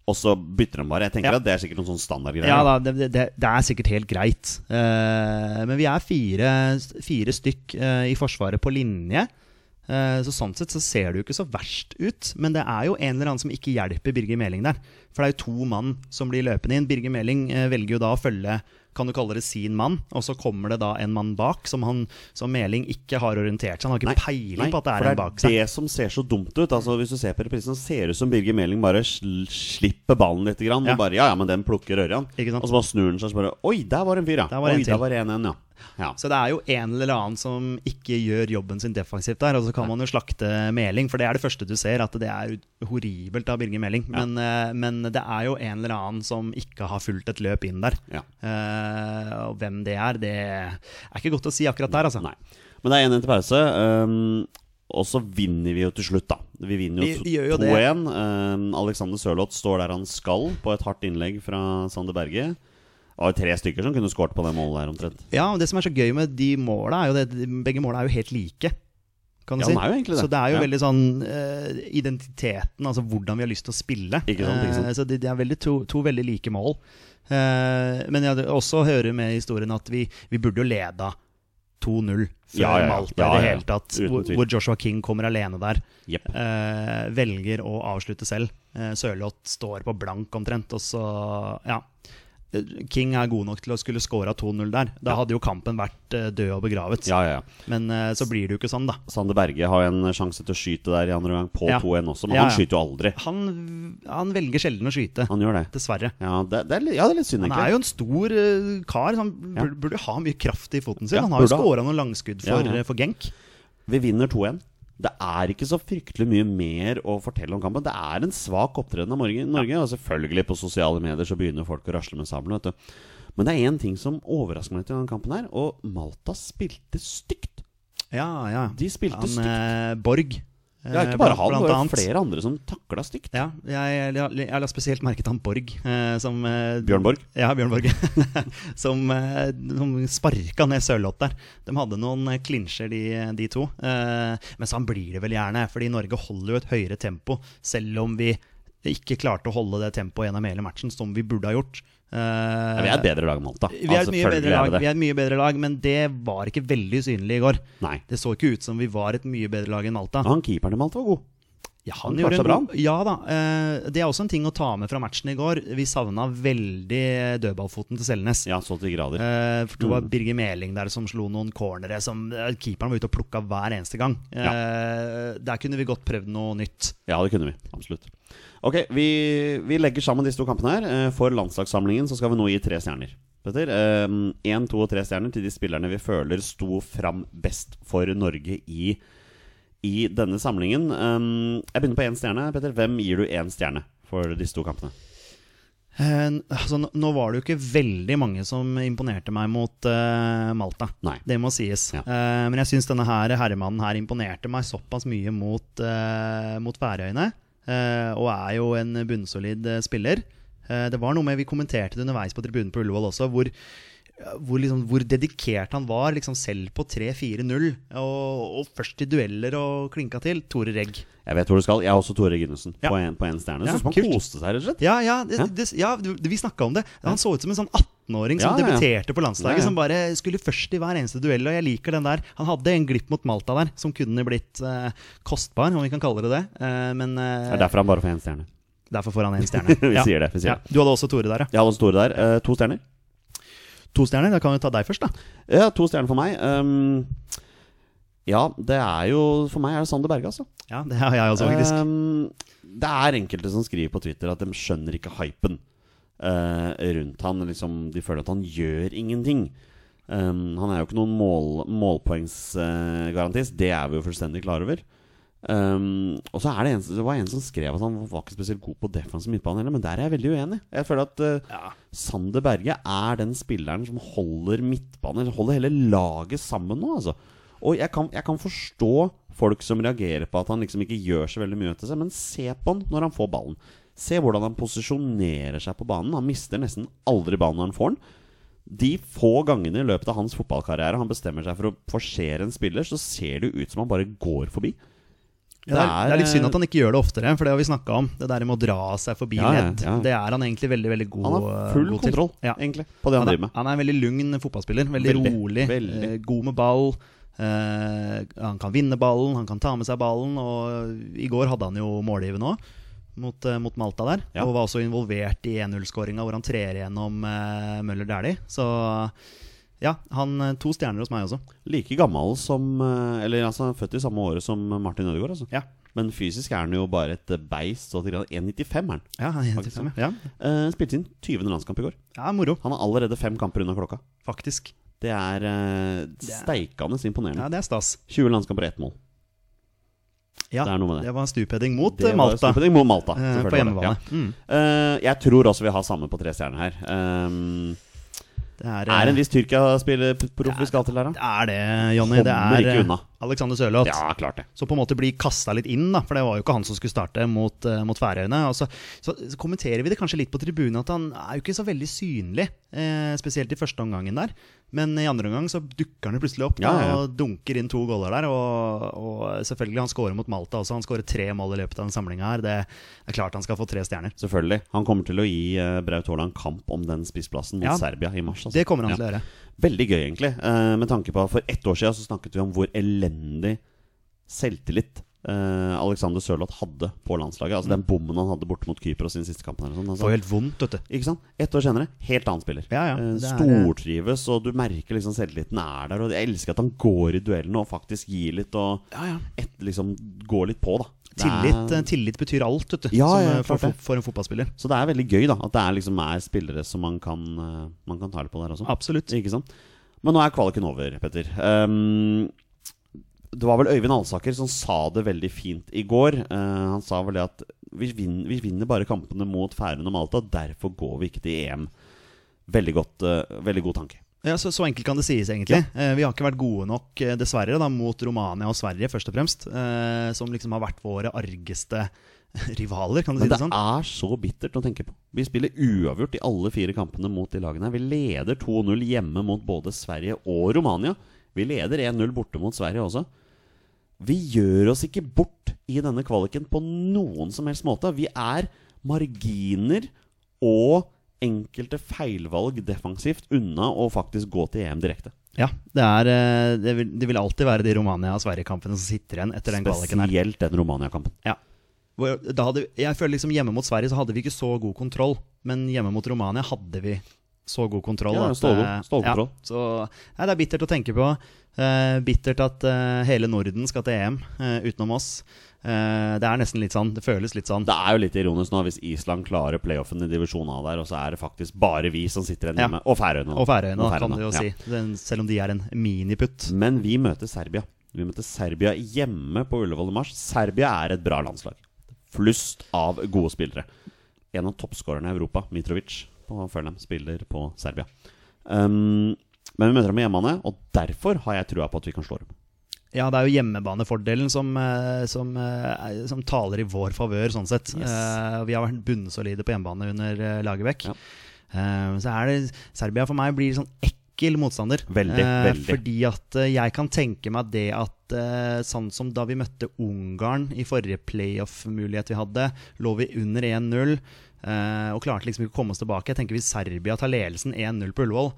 Speaker 1: Og så bytter han bare. Jeg tenker
Speaker 2: Mm. Ja.
Speaker 1: at Det er sikkert noen sånn standardgreier.
Speaker 2: Ja da, det, det, det er sikkert helt greit. Eh, men vi er fire, fire stykk eh, i Forsvaret på linje. Eh, så sånn sett så ser det jo ikke så verst ut. Men det er jo en eller annen som ikke hjelper Birger Meling der. For det er jo to mann som blir løpende inn. Birger Meling eh, velger jo da å følge kan du kalle det sin mann, og så kommer det da en mann bak som, han, som Meling ikke har orientert seg. Han har ikke
Speaker 1: Nei,
Speaker 2: peiling
Speaker 1: nei,
Speaker 2: på at det
Speaker 1: for
Speaker 2: er en bak
Speaker 1: Det
Speaker 2: seg.
Speaker 1: er det som ser så dumt ut. Altså Hvis du ser på reprisen, så ser det ut som Birger Meling bare sl slipper ballen litt. Grann,
Speaker 2: Ja.
Speaker 1: Og bare, ja, ja, men den plukker Ørjan.
Speaker 2: Ikke sant?
Speaker 1: Og så bare snur han seg og så bare Oi, der var en fyr, ja.
Speaker 2: Der var
Speaker 1: Oi,
Speaker 2: en til.
Speaker 1: der var en, en, ja. ja.
Speaker 2: Så det er jo en eller annen som ikke gjør jobben sin defensivt der. Og så kan man jo slakte Meling, for det er det første du ser, at det er horribelt av Birger Meling. Men, eh, men det er jo en eller annen som ikke har fulgt et løp inn der.
Speaker 1: Ja.
Speaker 2: Eh, og hvem det er, det er ikke godt å si akkurat der, altså.
Speaker 1: Nei. Men det er 1-1 til pause. ehm, og så vinner vi jo til slutt, da. Vi vinner jo
Speaker 2: Vi- vi gjør jo
Speaker 1: 2-1. Ehm, Alexander Sørloth står der han skal, på et hardt innlegg fra Sander Berge. Det var jo tre stykker som kunne skåret på det målet der, omtrent.
Speaker 2: Ja, og det som er så gøy med de måla, er jo det begge måla er jo helt like. kan
Speaker 1: Ja,
Speaker 2: du si.
Speaker 1: den er jo egentlig det.
Speaker 2: Så det er jo
Speaker 1: Ja.
Speaker 2: veldig sånn eh, identiteten, altså hvordan vi har lyst til å spille.
Speaker 1: Ikke sant, ikke sant.
Speaker 2: Eh, så det, det er veldig to, to veldig like mål. Eh, men jeg også hører med i historien at vi, vi burde jo leda 2-0 før
Speaker 1: Ja, ja, ja.
Speaker 2: Malta
Speaker 1: Ja,
Speaker 2: i det
Speaker 1: ja, ja.
Speaker 2: hele tatt.
Speaker 1: Uten
Speaker 2: Hvor,
Speaker 1: tvil.
Speaker 2: hvor Joshua King kommer alene der.
Speaker 1: Jepp.
Speaker 2: eh, velger å avslutte selv. Eh, Sørloth står på blank omtrent, og så Ja. King er god nok til å skulle skåra 2-0 der. Da hadde jo kampen vært eh, død og begravet.
Speaker 1: Ja, ja, ja.
Speaker 2: Men eh, så blir det jo ikke sånn, da.
Speaker 1: Sander Berge har en sjanse til å skyte der i andre gang, på
Speaker 2: Ja.
Speaker 1: 2-1 også, men
Speaker 2: Ja,
Speaker 1: han
Speaker 2: ja.
Speaker 1: skyter jo aldri.
Speaker 2: Han, han velger sjelden å skyte,
Speaker 1: Han gjør det.
Speaker 2: dessverre.
Speaker 1: Ja, det, det, er, litt- ja, det er litt synd,
Speaker 2: Han
Speaker 1: egentlig.
Speaker 2: er jo en stor eh, kar. Han
Speaker 1: Ja.
Speaker 2: burde, burde ha mye kraft i foten sin.
Speaker 1: Ja,
Speaker 2: han har jo
Speaker 1: burde ha.
Speaker 2: skåra noen langskudd for, eh,
Speaker 1: Ja, ja.
Speaker 2: for Genk.
Speaker 1: Vi vinner 2-1. Det er ikke så fryktelig mye mer å fortelle om kampen. Det er en svak opptreden av Norge. Norge og selvfølgelig på sosiale medier så begynner folk å rasle med sammen. Vet du. Men det er én ting som overrasker meg litt i denne kampen, her og Malta spilte stygt.
Speaker 2: Ja, ja.
Speaker 1: De spilte
Speaker 2: Han
Speaker 1: stygt.
Speaker 2: eh, Borg. eh,
Speaker 1: Ja, ikke bare
Speaker 2: blant-
Speaker 1: han,
Speaker 2: blant
Speaker 1: det var
Speaker 2: annet.
Speaker 1: jo flere andre som takla stygt.
Speaker 2: Ja, jeg, jeg, jeg, la spesielt merket han Borg. Eh, som, eh,
Speaker 1: Bjørn Borg?
Speaker 2: Ja, Bjørn Borg. som eh, som sparka ned Sørloth der. De hadde noen eh, klinsjer, de, de to. Eh, men sånn blir det vel gjerne, fordi Norge holder jo et høyere tempo. Selv om vi ikke klarte å holde det tempoet gjennom hele matchen, som vi burde ha gjort.
Speaker 1: Ja,
Speaker 2: Eh,
Speaker 1: vi er et bedre lag enn Malta. Altså,
Speaker 2: vi er et mye
Speaker 1: selvfølgelig
Speaker 2: bedre lag,
Speaker 1: er
Speaker 2: vi
Speaker 1: vi det.
Speaker 2: er et mye bedre lag, men det var ikke veldig synlig i går.
Speaker 1: Nei.
Speaker 2: Det så ikke ut som vi var et mye bedre lag enn Malta.
Speaker 1: Og han keeperen i Malta var god.
Speaker 2: Ja,
Speaker 1: Han
Speaker 2: han
Speaker 1: klarte
Speaker 2: gjorde
Speaker 1: seg
Speaker 2: en
Speaker 1: bra,
Speaker 2: god, ja da. eh, Det er også en ting å ta med fra matchen i går. Vi savna veldig dødballfoten til Selnes.
Speaker 1: Ja, så til de grader.
Speaker 2: Eh, For det var Birger Meling der som slo noen cornere som eh, keeperen var ute og plukka hver eneste gang.
Speaker 1: Ja.
Speaker 2: Eh, Der kunne vi godt prøvd noe nytt.
Speaker 1: Ja, det kunne vi. Absolutt. Ok, vi, vi legger sammen disse to kampene her. Eh, For landslagssamlingen så skal vi nå gi tre stjerner. Petter, én, to og tre stjerner til de spillerne vi føler sto fram best for Norge i, i denne samlingen. Eh, Jeg begynner på én stjerne. Petter, hvem gir du én stjerne for disse to kampene?
Speaker 2: Eh, n- Altså, n- nå var det jo ikke veldig mange som imponerte meg mot eh, Malta.
Speaker 1: Nei.
Speaker 2: Det må sies.
Speaker 1: Ja.
Speaker 2: Eh, men jeg syns denne her herremannen her imponerte meg såpass mye mot, eh, mot Færøyene. eh, og er jo en bunnsolid eh, spiller. Eh, det var noe med Vi kommenterte det underveis på tribunen på Ullevål også, hvor, hvor, liksom, hvor dedikert han var liksom selv på 3-4-0. Og, og først i dueller og klinka til. Tore Regg.
Speaker 1: Jeg vet hvor du skal. Jeg har også Tore Ginnesen
Speaker 2: Ja.
Speaker 1: på en- på én stjerne.
Speaker 2: Ja,
Speaker 1: Synes man
Speaker 2: kult.
Speaker 1: koste seg, rett og slett.
Speaker 2: Ja, ja, det,
Speaker 1: Hæ?
Speaker 2: det, ja du- vi snakka om det. Han så ut som en sånn 18-åring som
Speaker 1: Ja, ja, ja.
Speaker 2: debuterte på landslaget.
Speaker 1: Ja, ja.
Speaker 2: Som bare skulle først i hver eneste duell. Og jeg liker den der. Han hadde en glipp mot Malta der som kunne blitt eh, kostbar, om vi kan kalle det det. Eh, men eh,
Speaker 1: Det er derfor han bare får én stjerne.
Speaker 2: derfor får han en stjerne.
Speaker 1: Vi sier det, vi sier det.
Speaker 2: Du hadde også Tore der, ja.
Speaker 1: Jeg hadde også Tore der. Eh, To stjerner.
Speaker 2: To stjerner. Da kan vi ta deg først, da.
Speaker 1: Ja, to stjerner for meg. Ehm, ja, det er jo For meg er det Sander Berge, altså.
Speaker 2: Ja, Det har jeg også, faktisk.
Speaker 1: Ehm, det er enkelte som skriver på Twitter at de skjønner ikke hypen eh, rundt han. Liksom, de føler at han gjør ingenting. Ehm, han er jo ikke noen mål, målpoengsgarantist, det er vi jo fullstendig klar over. Ehm, og så er det en, det var en som skrev at han var ikke spesielt god på defensiv midtbane heller, men der er jeg veldig uenig. Jeg føler at eh, Sander Berge er den spilleren som holder midtbanen, eller holder hele laget sammen nå, altså. Og jeg kan, jeg kan forstå folk som reagerer på at han liksom ikke gjør så veldig mye til seg, men se på han når han får ballen. Se hvordan han posisjonerer seg på banen. Han mister nesten aldri ballen når han får den. De få gangene i løpet av hans fotballkarriere han bestemmer seg for å forsere en spiller, så ser det jo ut som han bare går forbi.
Speaker 2: Ja, det, er, det er litt synd at han ikke gjør det oftere, for det har vi snakka om. Det der med å dra seg forbi
Speaker 1: eh, Ja, ja,
Speaker 2: ledd.
Speaker 1: ja.
Speaker 2: Det er han egentlig veldig veldig god,
Speaker 1: eh, Han har full
Speaker 2: god til.
Speaker 1: kontroll,
Speaker 2: Ja.
Speaker 1: egentlig, på det han,
Speaker 2: Han er,
Speaker 1: driver med.
Speaker 2: han er en veldig lugn fotballspiller. Veldig,
Speaker 1: Veldig,
Speaker 2: rolig,
Speaker 1: veldig.
Speaker 2: eh, god med ball. eh, han kan vinne ballen, han kan ta med seg ballen. Og i går hadde han jo målgivende òg, mot, eh, mot Malta der.
Speaker 1: Ja.
Speaker 2: Og var også involvert i 1-0-skåringa, hvor han trer gjennom eh, Møller Dæhlie. Så ja, han eh, to stjerner hos meg også.
Speaker 1: Like gammel som eh, Eller altså, han er født i samme året som Martin Ødegaard, altså.
Speaker 2: Ja.
Speaker 1: Men fysisk er han jo bare et eh, beist. Så til grad 1,95 er han.
Speaker 2: Ja, han er helt
Speaker 1: Faktisk,
Speaker 2: tilfreds med. ja.
Speaker 1: Eh, spilte sin 20. landskamp i går.
Speaker 2: ja, moro,
Speaker 1: Han har allerede fem kamper unna klokka.
Speaker 2: faktisk.
Speaker 1: Det er eh, steikende imponerende.
Speaker 2: Ja, Det er stas.
Speaker 1: 20 landskamper og ett mål.
Speaker 2: Ja,
Speaker 1: Det er noe med det.
Speaker 2: var en stupeheading mot
Speaker 1: Det
Speaker 2: eh,
Speaker 1: var
Speaker 2: Malta.
Speaker 1: skuffende Mot Malta
Speaker 2: eh,
Speaker 1: selvfølgelig
Speaker 2: på
Speaker 1: var det.
Speaker 2: hjemmebane.
Speaker 1: Ja.
Speaker 2: Mm.
Speaker 1: Eh, jeg tror også vi har samme på tre stjerner her. Eh,
Speaker 2: Det er,
Speaker 1: er en
Speaker 2: eh,
Speaker 1: viss Tyrkia-spillerproff vi skal til her, da?
Speaker 2: det er det, Jonny. Det
Speaker 1: Kommer
Speaker 2: er,
Speaker 1: ikke
Speaker 2: eh,
Speaker 1: unna.
Speaker 2: Alexander Sørloth.
Speaker 1: Ja, klart det.
Speaker 2: Så på en måte bli kasta litt inn, da, for det var jo ikke han som skulle starte mot, eh, mot Færøyene. Og så, så, så kommenterer vi det kanskje litt på tribunen at han er jo ikke så veldig synlig, eh, spesielt i første omgangen der. Men i andre omgang så dukker han jo plutselig opp da,
Speaker 1: Ja, ja, ja.
Speaker 2: og dunker inn to goller der. Og, og selvfølgelig, han scorer mot Malta også. Han scorer tre mål i løpet av den samlinga her. Det er klart han skal få tre stjerner.
Speaker 1: Selvfølgelig. Han kommer til å gi eh, Braut Haaland kamp om den spissplassen mot
Speaker 2: Ja.
Speaker 1: Serbia i mars. altså.
Speaker 2: Det kommer han
Speaker 1: Ja.
Speaker 2: til å gjøre.
Speaker 1: Veldig gøy, egentlig. eh, med tanke på at For ett år siden så snakket vi om hvor elendig selvtillit eh, Alexander Sørloth hadde på landslaget.
Speaker 2: Mm.
Speaker 1: Altså Den bommen han hadde borte mot Kypros i den siste kampen. Eller sånn, altså.
Speaker 2: Får helt vondt, vet du.
Speaker 1: Ikke sant? Ett år senere, helt annen spiller.
Speaker 2: Ja, ja,
Speaker 1: Eh,
Speaker 2: det er-
Speaker 1: Stortrives, og du merker liksom selvtilliten er der. Og jeg elsker at han går i duellene og faktisk gir litt og
Speaker 2: Ja, ja.
Speaker 1: et, liksom går litt på, da. Det
Speaker 2: Tillit,
Speaker 1: er-
Speaker 2: eh, tillit betyr alt, vet du,
Speaker 1: Ja,
Speaker 2: som,
Speaker 1: ja,
Speaker 2: eh, for,
Speaker 1: klart det.
Speaker 2: for en fotballspiller.
Speaker 1: Så det er veldig gøy, da. At det er liksom er spillere som man kan, eh, man kan ta litt på der også.
Speaker 2: Absolutt.
Speaker 1: Ikke sant? Men nå er kvaliken over, Petter. Ehm, det var vel Øyvind Alsaker som sa det veldig fint i går. Eh, han sa vel det at vi vinner, vi vinner bare kampene mot Færøyene og Malta, derfor går vi ikke til EM. Veldig, godt, eh, veldig god tanke.
Speaker 2: Ja, så, så enkelt kan det sies, egentlig. Eh, vi har ikke vært gode nok, eh, dessverre, da, mot Romania og Sverige, først og fremst. Eh, som liksom har vært våre argeste rivaler, kan du
Speaker 1: Men
Speaker 2: si
Speaker 1: det
Speaker 2: det sånn.
Speaker 1: er så bittert å tenke på. Vi spiller uavgjort i alle fire kampene mot de lagene. her. Vi leder 2-0 hjemme mot både Sverige og Romania. Vi leder 1-0 borte mot Sverige også. Vi gjør oss ikke bort i denne kvaliken på noen som helst måte. Vi er marginer og enkelte feilvalg defensivt unna å faktisk gå til EM direkte.
Speaker 2: Ja, det, er, eh, det, vil, det vil alltid være de Romania- og Sverige-kampene som sitter igjen etter den kvaliken her.
Speaker 1: Spesielt den Romania-kampen.
Speaker 2: Ja. Hvor- Da hadde, jeg føler liksom Hjemme mot Sverige så hadde vi ikke så god kontroll, men hjemme mot Romania hadde vi så god kontroll.
Speaker 1: Ja,
Speaker 2: at,
Speaker 1: stål-
Speaker 2: eh,
Speaker 1: stålkontroll.
Speaker 2: Ja, så nei, det er bittert å tenke på. Eh, bittert at eh, hele Norden skal til EM eh, utenom oss. Eh, det er nesten litt sånn. Det føles litt sånn.
Speaker 1: Det er jo litt ironisk nå hvis Island klarer playoffen i divisjonen A der, og så er det faktisk bare vi som sitter igjen
Speaker 2: Ja.
Speaker 1: hjemme. Og Færøyene. da.
Speaker 2: Og Færøyene, da, kan
Speaker 1: Færøyene,
Speaker 2: du jo
Speaker 1: ja.
Speaker 2: si. Den, selv om de er en miniputt.
Speaker 1: Men vi møter Serbia. Vi møter Serbia hjemme på Ullevål i mars. Serbia er et bra landslag. Flust av gode spillere. En av toppskårerne i Europa, Mitrovic, på Fulham, spiller på Serbia. Um, men vi møter dem i hjemmebane, og derfor har jeg trua på at vi kan slå dem.
Speaker 2: Ja, det er jo hjemmebanefordelen som, eh, som, eh, som taler i vår favør, sånn sett.
Speaker 1: Yes.
Speaker 2: Eh, vi har vært bunnsolide på hjemmebane under eh, Lagerbäck.
Speaker 1: Ja.
Speaker 2: Eh, så er det Serbia for meg blir sånn ekkel motstander.
Speaker 1: Veldig,
Speaker 2: Eh,
Speaker 1: veldig.
Speaker 2: Fordi at eh, jeg kan tenke meg det at eh, sånn som da vi møtte Ungarn i forrige playoff-mulighet vi hadde, lå vi under 1-0 eh, og klarte liksom ikke å komme oss tilbake. Jeg tenker Hvis Serbia tar ledelsen 1-0 på Ullevål,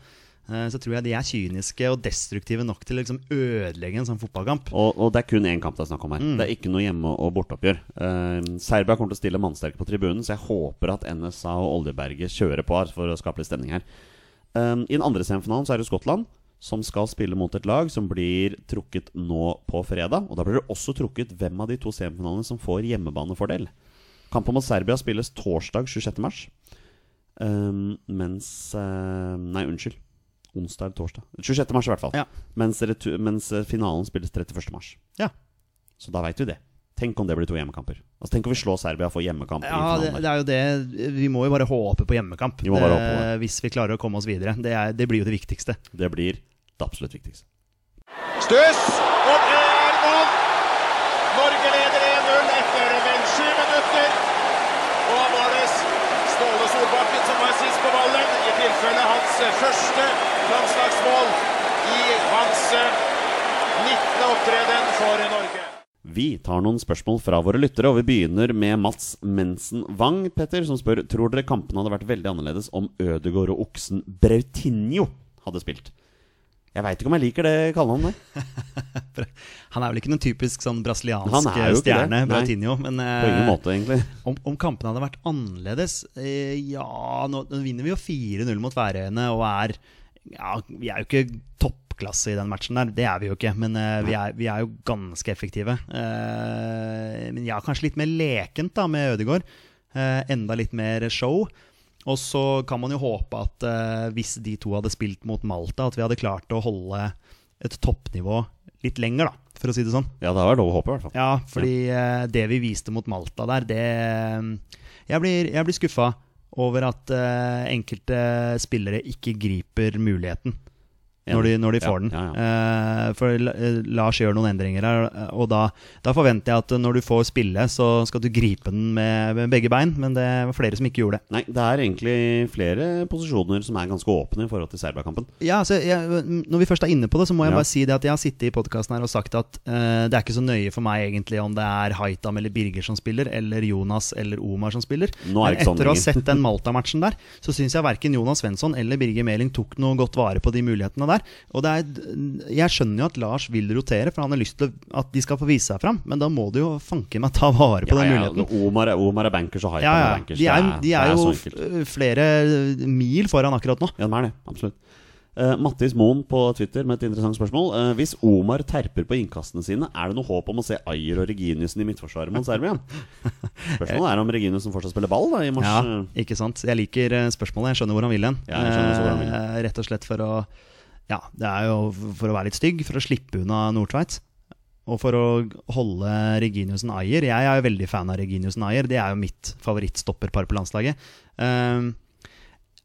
Speaker 2: eh, så tror jeg de er kyniske og destruktive nok til å liksom ødelegge en sånn fotballkamp.
Speaker 1: Og, og det er kun én kamp det er snakk om her. Det er ikke noe hjemme- og borteoppgjør. Eh, Serbia kommer til å stille mannsterke på tribunen, så jeg håper at NSA og Oljeberget kjører på her for å skape litt stemning her. Eh, I den andre semifinalen så er det Skottland, som skal spille mot et lag som blir trukket nå på fredag. Og da blir det også trukket hvem av de to semifinalene som får hjemmebanefordel. Kampen mot Serbia spilles torsdag 26. mars. Eh, mens eh, Nei, unnskyld. Onsdag eller torsdag. 26. mars i hvert fall.
Speaker 2: Ja.
Speaker 1: Mens, retu- mens eh, finalen spilles 31. mars.
Speaker 2: Ja,
Speaker 1: Så da veit vi det. Tenk om det blir to hjemmekamper. Altså Tenk om vi slår Serbia og får hjemmekamp. i
Speaker 2: ja det,
Speaker 1: finalen
Speaker 2: det
Speaker 1: der.
Speaker 2: er jo det. Vi må jo bare håpe på hjemmekamp
Speaker 1: Vi må bare håpe på
Speaker 2: eh, hvis vi klarer å komme oss videre. Det, er, det blir jo det viktigste.
Speaker 1: det blir det absolutt viktigste.
Speaker 3: Stuss, og det er mål! Norge leder 1-0 etter vel sju minutter. Og da var det Ståle Solbakken som var sist på ballen, i tilfelle hans eh, første landslagsmål i hans eh, 19. opptreden for Norge.
Speaker 1: Vi tar noen spørsmål fra våre lyttere, og vi begynner med Mats Mensen Wang, Petter, som spør Tror dere kampen hadde vært veldig annerledes om Ødegaard og oksen Brautinho hadde spilt. Jeg veit ikke om jeg liker det kallenavnet.
Speaker 2: Han er vel ikke noen typisk sånn
Speaker 1: Han
Speaker 2: brasiliansk
Speaker 1: er jo ikke det.
Speaker 2: stjerne,
Speaker 1: Nei.
Speaker 2: Brautinho. Men eh,
Speaker 1: På ingen måte, egentlig.
Speaker 2: Om, om kampene hadde vært annerledes eh, Ja, nå, nå vinner vi jo 4-0 mot Færøyene og er ja, Vi er jo ikke toppklasse i den matchen der, det er vi jo ikke. Men eh, vi, er, vi er jo ganske effektive. Eh, men ja, kanskje litt mer lekent da med Ødegaard. Eh, enda litt mer show. Og så kan man jo håpe at eh, hvis de to hadde spilt mot Malta, at vi hadde klart å holde et toppnivå litt lenger, da, for å si det sånn.
Speaker 1: Ja, det har vært lov å håpe, i hvert fall.
Speaker 2: Ja, fordi eh, det vi viste mot Malta der, det Jeg blir, jeg blir skuffa over at eh, enkelte spillere ikke griper muligheten. når de, når de
Speaker 1: Ja,
Speaker 2: får den.
Speaker 1: ja,
Speaker 2: Eh, for La- eh, Lars gjør noen endringer her, eh, og da, da forventer jeg at eh, når du får spille, så skal du gripe den med, med begge bein, men det var flere som ikke gjorde det.
Speaker 1: Nei, det er egentlig flere posisjoner som er ganske åpne i forhold til Serbia-kampen.
Speaker 2: Ja, altså, jeg, Når vi først er inne på det, så må jeg
Speaker 1: Ja.
Speaker 2: bare si det at jeg har sittet i podkasten her og sagt at eh, det er ikke så nøye for meg egentlig om det er Haitam eller Birger som spiller, eller Jonas eller Omar som spiller.
Speaker 1: Nå er det
Speaker 2: Men
Speaker 1: ikke sånn
Speaker 2: etter å ha
Speaker 1: lenger.
Speaker 2: sett den Malta-matchen der, så syns jeg verken Jonas Svensson eller Birger Meling tok noe godt vare på de mulighetene der. Og det er, jeg skjønner jo at Lars vil rotere, for han har lyst til at de skal få vise seg fram, men da må du jo fanken meg ta vare på
Speaker 1: Ja,
Speaker 2: den
Speaker 1: ja,
Speaker 2: muligheten.
Speaker 1: Omar, er, Omar er bankers og Haitam
Speaker 2: Ja,
Speaker 1: er
Speaker 2: ja.
Speaker 1: bankers.
Speaker 2: De er,
Speaker 1: Det
Speaker 2: de er
Speaker 1: det
Speaker 2: jo
Speaker 1: så enkelt.
Speaker 2: f- flere mil foran akkurat nå.
Speaker 1: Ja, de er det. Absolutt. Eh, Mattis Moen på Twitter med et interessant spørsmål. Eh, hvis Omar terper på innkastene sine, er det noe håp om å se Ayer og Reginiussen i midtforsvaret mot Serbia? Spørsmålet er om Reginiussen fortsatt spiller ball da, i mars. eh,
Speaker 2: Ja, ikke sant. Jeg liker eh, spørsmålet. Jeg skjønner hvor han vil hen.
Speaker 1: Ja, jeg skjønner også hvor han vil.
Speaker 2: Eh, Rett og slett for å Ja, det er jo for å være litt stygg, for å slippe unna Nordtveit. Og for å holde Reginiussen Ayer. Jeg er jo veldig fan av Reginiussen Ayer. Det er jo mitt favorittstopperpar på landslaget. Ehm,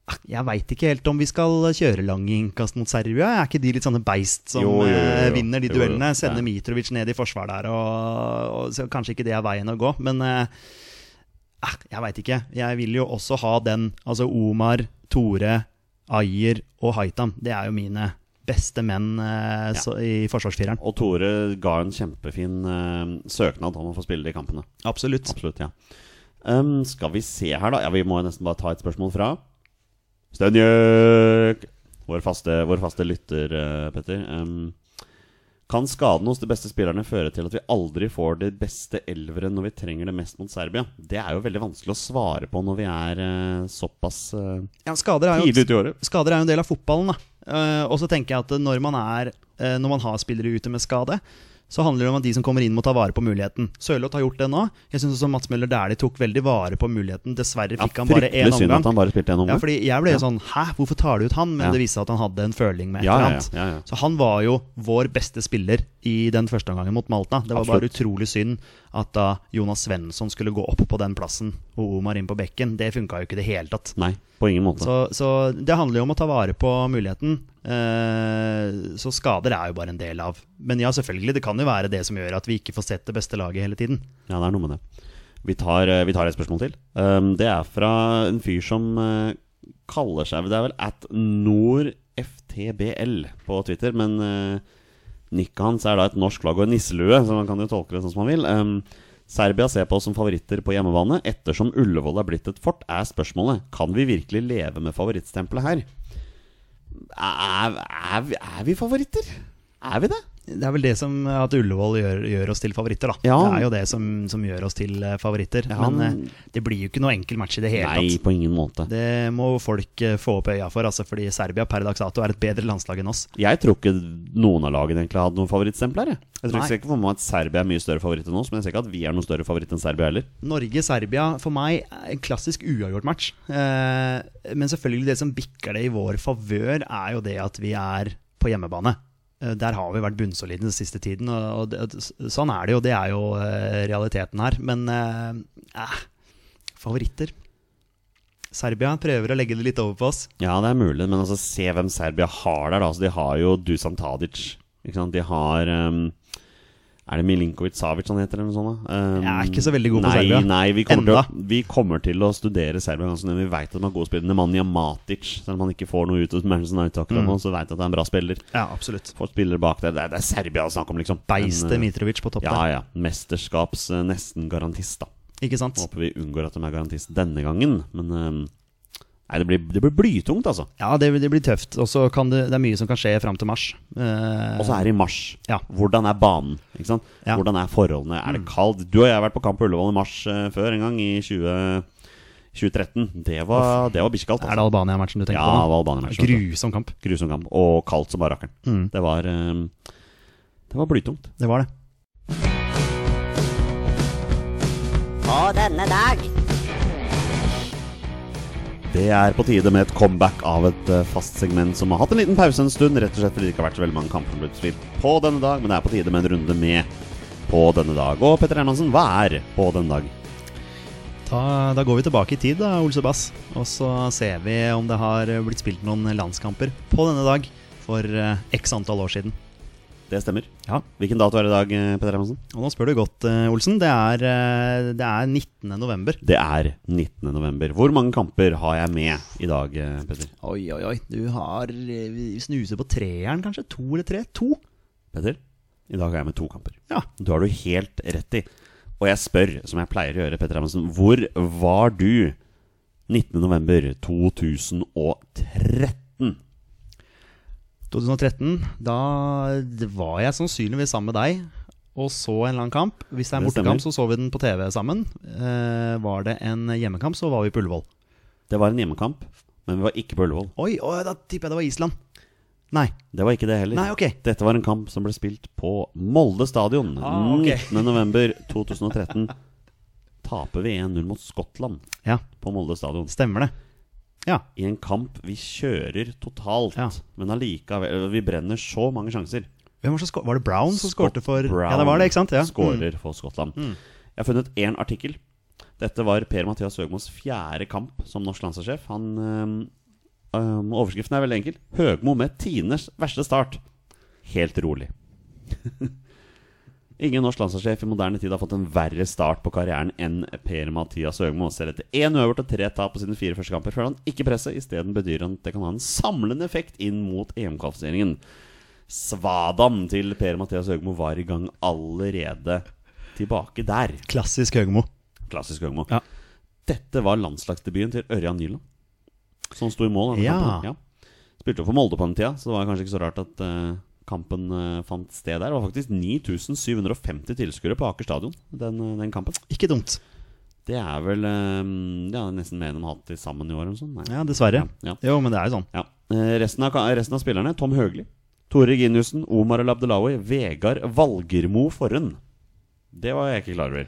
Speaker 2: ah, jeg veit ikke helt om vi skal kjøre lange innkast mot Serbia. Er ikke de litt sånne beist som
Speaker 1: Jo, jo, jo, jo.
Speaker 2: eh, vinner de
Speaker 1: Jo, jo.
Speaker 2: duellene? Sender
Speaker 1: Ja.
Speaker 2: Mitrovic ned i forsvar der, og, og så kanskje ikke det er veien å gå. Men eh, Ah, jeg veit ikke. Jeg vil jo også ha den Altså Omar, Tore, Ayer og Haitam. Det er jo mine beste menn eh, så, i forsvarsfireren.
Speaker 1: Og Tore ga en kjempefin eh, søknad om å få spille de kampene.
Speaker 2: Absolutt.
Speaker 1: Absolutt, ja. Ehm, skal vi se her, da. Ja, Vi må jo nesten bare ta et spørsmål fra Stenjøk! Vår faste, vår faste lytter, eh, Petter. Ehm, kan skaden hos de beste spillerne føre til at vi aldri får de beste elvere når vi trenger det mest mot Serbia? Det er jo veldig vanskelig å svare på når vi er eh, såpass eh,
Speaker 2: Ja, skader, er
Speaker 1: tidlig
Speaker 2: jo,
Speaker 1: ute i året.
Speaker 2: skader er jo en del av fotballen, da. Eh, og så tenker jeg at når man, er, eh, når man har spillere ute med skade, så handler det om at de som kommer inn, må ta vare på muligheten. Sørloth har gjort det nå. Jeg syns også Mats Møller Dæhlie tok veldig vare på muligheten. Dessverre
Speaker 1: Ja,
Speaker 2: fikk han bare én
Speaker 1: fryktelig synd
Speaker 2: omgang.
Speaker 1: at han bare spilte én
Speaker 2: Ja,
Speaker 1: omgang.
Speaker 2: fordi jeg ble jo
Speaker 1: Ja.
Speaker 2: sånn Hæ, hvorfor tar du ut han? Men
Speaker 1: Ja.
Speaker 2: det viste seg at han hadde en føling med et
Speaker 1: Ja, ja,
Speaker 2: eller annet.
Speaker 1: ja, ja, ja.
Speaker 2: Så han var jo vår beste spiller i den første omgangen mot Malta. Det var bare
Speaker 1: Absolutt.
Speaker 2: utrolig synd at da Jonas Svensson skulle gå opp på den plassen og Omar inn på bekken. Det funka jo ikke i det hele tatt.
Speaker 1: Nei, på ingen måte.
Speaker 2: Så, så det handler jo om å ta vare på muligheten. Eh, så skader er jo bare en del av. Men ja, selvfølgelig, det kan jo være det som gjør at vi ikke får sett det beste laget hele tiden.
Speaker 1: Ja, det er noe med det. Vi tar, eh, vi tar et spørsmål til. Um, det er fra en fyr som uh, kaller seg Det er vel at nordftbl på Twitter, men uh, nikket hans er da et norsk flagg og en nisselue, så man kan jo tolke det sånn som man vil. Um, Serbia ser på oss som favoritter på hjemmebane. Ettersom Ullevål er blitt et fort, er spørsmålet Kan vi virkelig leve med favorittstempelet her. Er, er, vi- er vi favoritter? Er vi det?
Speaker 2: Det er vel det som at Ullevål gjør, gjør oss til favoritter, da.
Speaker 1: Ja.
Speaker 2: Det er jo det som, som gjør oss til eh, favoritter.
Speaker 1: Ja,
Speaker 2: Men
Speaker 1: han-
Speaker 2: eh, det blir jo ikke noe enkel match i det hele
Speaker 1: Nei,
Speaker 2: tatt.
Speaker 1: på ingen måte.
Speaker 2: Det må folk eh, få opp øya for, altså, fordi Serbia per dags dato er et bedre landslag enn oss.
Speaker 1: Jeg tror ikke noen av lagene egentlig hadde noen favorittstempler. Jeg, jeg tror
Speaker 2: Nei.
Speaker 1: jeg ser ikke for meg at Serbia er mye større favoritt enn oss, men jeg ser ikke at vi er noen større favoritt enn Serbia heller.
Speaker 2: Norge-Serbia for meg er en klassisk uavgjort match. Eh, men selvfølgelig det som bikker det i vår favør, er jo det at vi er på hjemmebane. Eh, der har vi vært bunnsolide den siste tiden, og, og det, og sånn er det jo. Det er jo eh, realiteten her. Men eh, eh, favoritter Serbia prøver å legge det litt over på oss.
Speaker 1: Ja, det er mulig, men altså, se hvem Serbia har der, da. Altså, de har jo Dusan Tadic. Ikke sant? De har ehm, Er det Milinkovic Savic han heter, eller noe sånt? da? Ehm,
Speaker 2: Jeg er ikke så veldig god på
Speaker 1: nei,
Speaker 2: Serbia.
Speaker 1: Nei, vi kommer,
Speaker 2: Enda.
Speaker 1: til å, vi kommer til å studere Serbia ganske nøye. Vi vet at de er gode spillere. Nemanja Matic, selv om han ikke får noe ut av Manchester United akkurat nå, så vet jeg at han er en bra spiller.
Speaker 2: Mm. Ja, absolutt.
Speaker 1: Får spillere bak der. Det er, det er Serbia det er snakk om, liksom.
Speaker 2: Beistet
Speaker 1: Men, eh,
Speaker 2: Mitrovic på topp
Speaker 1: Ja, ja. Mesterskaps eh, nesten garantist, da.
Speaker 2: der. Ikke sant?
Speaker 1: Håper vi unngår at de er garantist denne gangen, men eh, Nei, det blir, det blir blytungt, altså.
Speaker 2: Ja, det, det blir tøft. Og så kan det, det er mye som kan skje fram til mars. Eh,
Speaker 1: Og så er det i mars.
Speaker 2: Ja.
Speaker 1: Hvordan er banen? Ikke sant?
Speaker 2: Ja. Mm.
Speaker 1: Hvordan er forholdene? Er det kaldt? Du og jeg har vært på kamp på Ullevål i mars eh, før en gang, i 20, 2013. Det var, det var bikkjekaldt.
Speaker 2: Er det
Speaker 1: Altså.
Speaker 2: Albania-matchen du tenker
Speaker 1: Ja,
Speaker 2: på? nå?
Speaker 1: det var Albania-matchen, vet du.
Speaker 2: Grusom kamp.
Speaker 1: Grusom kamp. Og kaldt som bare rakkeren.
Speaker 2: Mm.
Speaker 1: Det var eh, Det var blytungt.
Speaker 2: Det var det.
Speaker 6: på denne dag.
Speaker 1: Det er på tide med et comeback av et eh, fast segment som har hatt en liten pause en stund, rett og slett fordi det ikke har vært så veldig mange kamper som har blitt spilt på denne dag, men det er på tide med en runde med på denne dag. Og Petter Hermansen, hva er på denne dag?
Speaker 2: Da, da går vi tilbake i tid, eh, da, Olse Bass. Og så ser vi om det har blitt spilt noen landskamper på denne dag for eh, x antall år siden.
Speaker 1: Det stemmer.
Speaker 2: Ja.
Speaker 1: Hvilken dato er det i dag, eh, Petter Hermansen?
Speaker 2: Og nå spør du godt, eh, Olsen. Det er, eh, det er 19. november.
Speaker 1: Det er 19. november. Hvor mange kamper har jeg med i dag, eh, Petter?
Speaker 2: Oi, oi, oi. Du har eh, Vi snuser på treeren, kanskje? To eller tre? To?
Speaker 1: Petter, i dag har jeg med to kamper.
Speaker 2: Ja.
Speaker 1: Du har du helt rett i. Og jeg spør, som jeg pleier å gjøre, Petter Hermansen, hvor var du 19. november 2013?
Speaker 2: 2013. Da var jeg sannsynligvis sammen med deg og så en eller annen kamp. Hvis det er en
Speaker 1: Det stemmer.
Speaker 2: bortekamp, så så vi den på TV sammen. Eh, var det en hjemmekamp, så var vi på Ullevål.
Speaker 1: Det var en hjemmekamp, men vi var ikke på Ullevål.
Speaker 2: Oi, oi, da tipper jeg det var Island. Nei.
Speaker 1: Det var ikke det heller.
Speaker 2: Nei, ok.
Speaker 1: Dette var en kamp som ble spilt på Molde stadion
Speaker 2: Ah, ok.
Speaker 1: 19. november 2013. Taper vi 1-0 mot Skottland
Speaker 2: Ja,
Speaker 1: på Molde stadion.
Speaker 2: stemmer det. Ja.
Speaker 1: I en kamp vi kjører totalt,
Speaker 2: Ja.
Speaker 1: men allikevel Vi brenner så mange sjanser.
Speaker 2: Hvem var, det som skå- var det Brown som skårte for
Speaker 1: Brown
Speaker 2: Ja, det var det, ikke sant? Ja. Mm.
Speaker 1: Skårer for Skottland. Jeg har funnet én artikkel. Dette var Per-Mathias Høgmos fjerde kamp som norsk landslagssjef. Han, øhm, øhm, overskriften er veldig enkel. 'Høgmo med tiendes verste start'. Helt rolig. Ingen norsk landslagssjef i moderne tid har fått en verre start på karrieren enn Per-Mathias Høgmo. Selv etter én øvert og tre tap på sine fire første kamper føler han ikke presset. Isteden bedyrer han at det kan ha en samlende effekt inn mot EM-kvalifiseringen. Svadam til Per-Mathias Høgmo var i gang allerede tilbake der.
Speaker 2: Klassisk Høgmo.
Speaker 1: Klassisk Høgmo.
Speaker 2: Ja.
Speaker 1: Dette var landslagsdebuten til Ørjan Nyland, som sto i mål. denne
Speaker 2: Ja.
Speaker 1: kampen. ja. Spilte jo for Molde på den tida, så det var kanskje ikke så rart at eh, kampen eh, fant sted der. Det var faktisk 9750 tilskuere på Aker stadion den, eh, den kampen.
Speaker 2: Ikke dumt.
Speaker 1: Det er vel eh, ja, nesten mer enn de har hatt til sammen i år. Eller noe sånt. Nei.
Speaker 2: Ja,
Speaker 1: Ja,
Speaker 2: dessverre.
Speaker 1: ja.
Speaker 2: Jo, men det er jo sånn.
Speaker 1: Ja. Eh, Resten av, ka- resten av spillerne, Tom Høgli, Tore Giniussen, Omar El Abdelawi, Vegard Valgermo Forren. Det var jeg ikke klar over.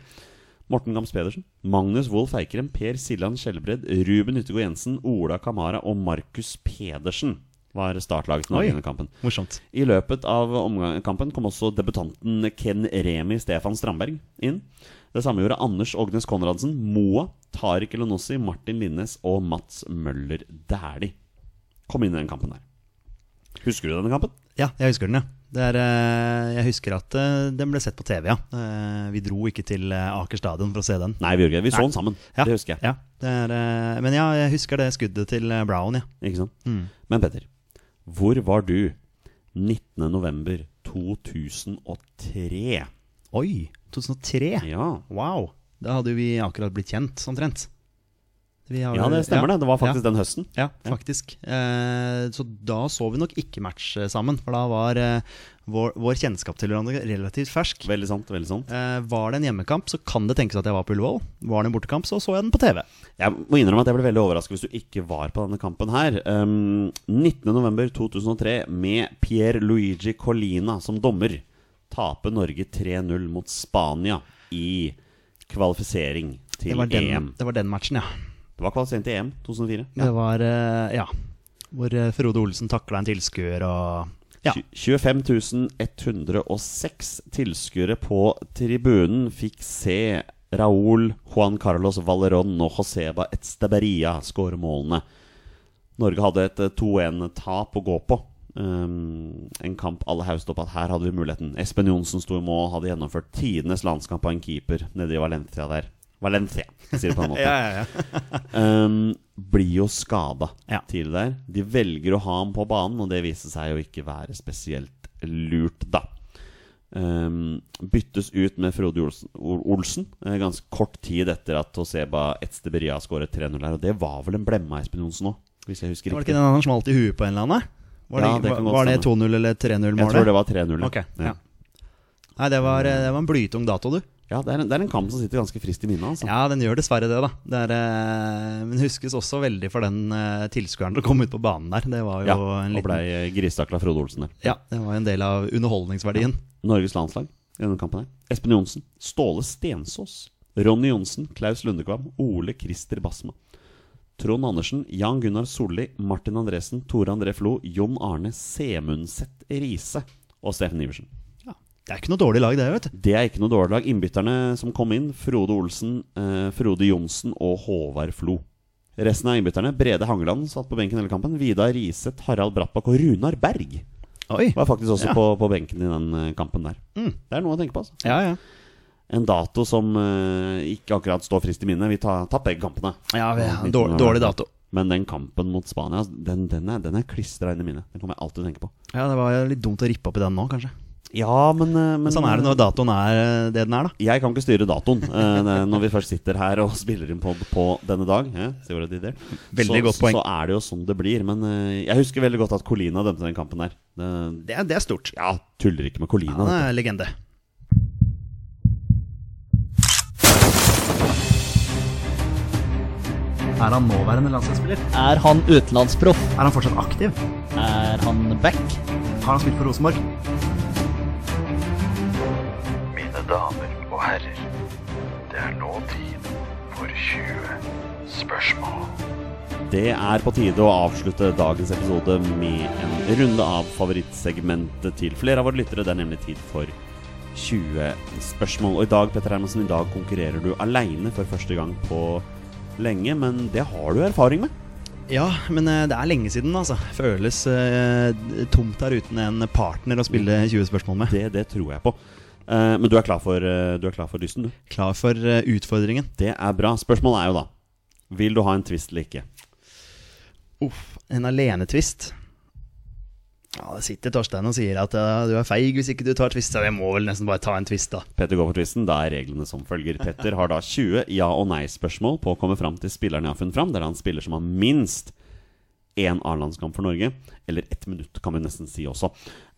Speaker 1: Morten Gams Pedersen, Magnus Wolff Eikrem, Per Siljan Skjelbred, Ruben Yttergård Jensen, Ola Kamara og Markus Pedersen var startlaget til Norge i
Speaker 2: Oi.
Speaker 1: denne kampen.
Speaker 2: Morsomt.
Speaker 1: I løpet av omgang- kampen kom også debutanten Ken Remi Stefan Strandberg inn. Det samme gjorde Anders Ognes Konradsen, Moa, Tariq Elonossi, Martin Linnes og Mats Møller Dæhlie. Kom inn i den kampen der. Husker du denne kampen?
Speaker 2: Ja, jeg husker den, ja. Det er, eh, jeg husker at eh, den ble sett på TV, ja. Eh, Vi dro ikke til eh, Aker stadion for å se den.
Speaker 1: Nei, vi gjorde ikke det. Vi så
Speaker 2: Nei.
Speaker 1: den sammen.
Speaker 2: Ja,
Speaker 1: Det husker jeg.
Speaker 2: Ja, det er, eh, men ja, jeg husker det skuddet til eh, Brown, ja. Mm.
Speaker 1: Ikke sant? Men Petter, hvor var du 19.11.2003?
Speaker 2: Oi, 2003.
Speaker 1: Ja.
Speaker 2: Wow. Da hadde vi akkurat blitt kjent, omtrent. Vi har
Speaker 1: ja,
Speaker 2: vel-
Speaker 1: det stemmer
Speaker 2: ja,
Speaker 1: det. Det var faktisk den høsten.
Speaker 2: Ja, ja, faktisk. Eh, så da så vi nok ikke match eh, sammen, for da var eh, vår, vår kjennskap til hverandre relativt fersk.
Speaker 1: Veldig sant. veldig sant
Speaker 2: Eh, var det en hjemmekamp, så kan det tenkes at jeg var på Ullevål. Var det en bortekamp, så så jeg den på TV.
Speaker 1: Jeg må innrømme at jeg ble veldig overrasket hvis du ikke var på denne kampen her. Um, 19.11.2003 med Pier Luigi Colina som dommer taper Norge 3-0 mot Spania i kvalifisering til
Speaker 2: Det var den,
Speaker 1: EM.
Speaker 2: det var den matchen, ja.
Speaker 1: Det var kvalifisering til EM 2004.
Speaker 2: Det var eh, Ja. Hvor eh, Frode Olsen takla en tilskuer og Ja.
Speaker 1: Tju- 25 106 tilskuere på tribunen fikk se Raúl, Juan Carlos Valerón og Joseba Esteberia skåre målene. Norge hadde et eh, 2-1-tap å gå på. Um, en kamp alle hauste opp at her hadde vi muligheten. Espen Johnsen sto i mål, hadde gjennomført tidenes landskamp av en keeper nede i Valencia der. Valencia, jeg sier det på en måte.
Speaker 2: ja, ja.
Speaker 1: um, blir jo skada
Speaker 2: Ja.
Speaker 1: tidlig der. De velger å ha ham på banen, og det viste seg jo ikke være spesielt lurt, da. Um, byttes ut med Frode Olsen, Ol- Olsen eh, ganske kort tid etter at Toseba Etsteberia skåret 3-0 her. Og det var vel en blemme av Espen Johnsen òg, hvis jeg husker
Speaker 2: Var det
Speaker 1: riktig.
Speaker 2: ikke den han smalt i huet på en eller annen? Var det,
Speaker 1: Ja, det kan
Speaker 2: var,
Speaker 1: godt
Speaker 2: var det
Speaker 1: stemme.
Speaker 2: 2-0 eller 3-0-målet?
Speaker 1: jeg tror det var 3-0.
Speaker 2: Ok, ja. Nei, det var, eh, det var en blytung dato, du.
Speaker 1: ja det, er en, det er en kamp som sitter ganske friskt i minnet. Altså.
Speaker 2: Ja, den gjør dessverre det, da. Det er, eh, men huskes også veldig for den eh, tilskueren som kom ut på banen der. Det var jo
Speaker 1: Ja,
Speaker 2: en
Speaker 1: og
Speaker 2: liten
Speaker 1: blei eh, gristakla Frode Olsen der.
Speaker 2: Ja, det var jo en del av underholdningsverdien.
Speaker 1: Norges landslag i denne kampen her. Espen Johnsen, Ståle Stensås, Ronny Johnsen, Klaus Lundekvam, Ole Christer Basma. Trond Andersen, Jan Gunnar Solli, Martin Andresen, Tore André Flo, Jon Arne Semundset Riise og Steffen Iversen.
Speaker 2: Ja. Det er ikke noe dårlig lag, det, vet du.
Speaker 1: Det er ikke noe dårlig lag. Innbytterne som kom inn, Frode Olsen, eh, Frode Johnsen og Håvard Flo. Resten av innbytterne, Brede Hangeland satt på benken hele kampen. Vidar Riseth, Harald Brattbakk og Runar Berg
Speaker 2: Oi.
Speaker 1: var faktisk også
Speaker 2: Ja.
Speaker 1: på, på benken i den eh, kampen der. Det er noe å tenke på. Altså.
Speaker 2: Ja, ja.
Speaker 1: En dato som eh, ikke akkurat står frist i minnet. Vi tar- tatt begge kampene.
Speaker 2: ja, vi- ja
Speaker 1: På midten
Speaker 2: dårlig,
Speaker 1: av
Speaker 2: dårlig
Speaker 1: verden.
Speaker 2: dato.
Speaker 1: Men den kampen mot Spania, altså, den, den er, den er klistra inn i minnet. Den kommer jeg alltid til å tenke på.
Speaker 2: Ja, Det var litt dumt å rippe opp i den nå, kanskje.
Speaker 1: Ja, men, eh, men
Speaker 2: Sånn er det når datoen er eh, det den er, da.
Speaker 1: Jeg kan ikke styre datoen eh, ne- når vi først sitter her og spiller inn pod på denne dag. eh, sier det det?
Speaker 2: Veldig
Speaker 1: så,
Speaker 2: godt poeng.
Speaker 1: Så er det jo sånn det blir. Men eh, jeg husker veldig godt at Colina dømte den kampen der. Det,
Speaker 2: Det er, det er stort.
Speaker 1: ja, tuller ikke med Colina.
Speaker 2: Han
Speaker 1: dette.
Speaker 2: er legende.
Speaker 7: Er han nåværende landslagsspiller?
Speaker 8: Er han utenlandsproff?
Speaker 7: Er han fortsatt aktiv?
Speaker 8: Er han back?
Speaker 7: Har han spilt for Rosenborg?
Speaker 9: Mine damer og herrer, det er nå tid for 20 spørsmål.
Speaker 1: Det er på tide å avslutte dagens episode med en runde av favorittsegmentet til flere av våre lyttere. Det er nemlig tid for 20 spørsmål. Og i dag, Petter Hermansen, i dag konkurrerer du aleine for første gang på lenge. Men det har du erfaring med.
Speaker 2: Ja, men eh, det er lenge siden, altså. Føles eh, tomt her uten en partner å spille
Speaker 7: Mm.
Speaker 2: 20 spørsmål med.
Speaker 1: Det, det tror jeg på. Eh, men du er klar for, eh, du er klar for dysten, du.
Speaker 2: Klar for eh, utfordringen.
Speaker 1: Det er bra. Spørsmålet er jo da Vil du ha en twist eller ikke?
Speaker 2: Uff, en alenetvist. Ja, det sitter Torstein og sier at eh, du er feig hvis ikke du tar twist. Så jeg må vel nesten bare ta en twist, da.
Speaker 1: Petter går for twisten. Da er reglene som følger. Petter har da 20 ja- og nei-spørsmål på å komme fram til spilleren jeg har funnet fram. Det er han spiller som har minst én A-landskamp for Norge. Eller ett minutt, kan vi nesten si også.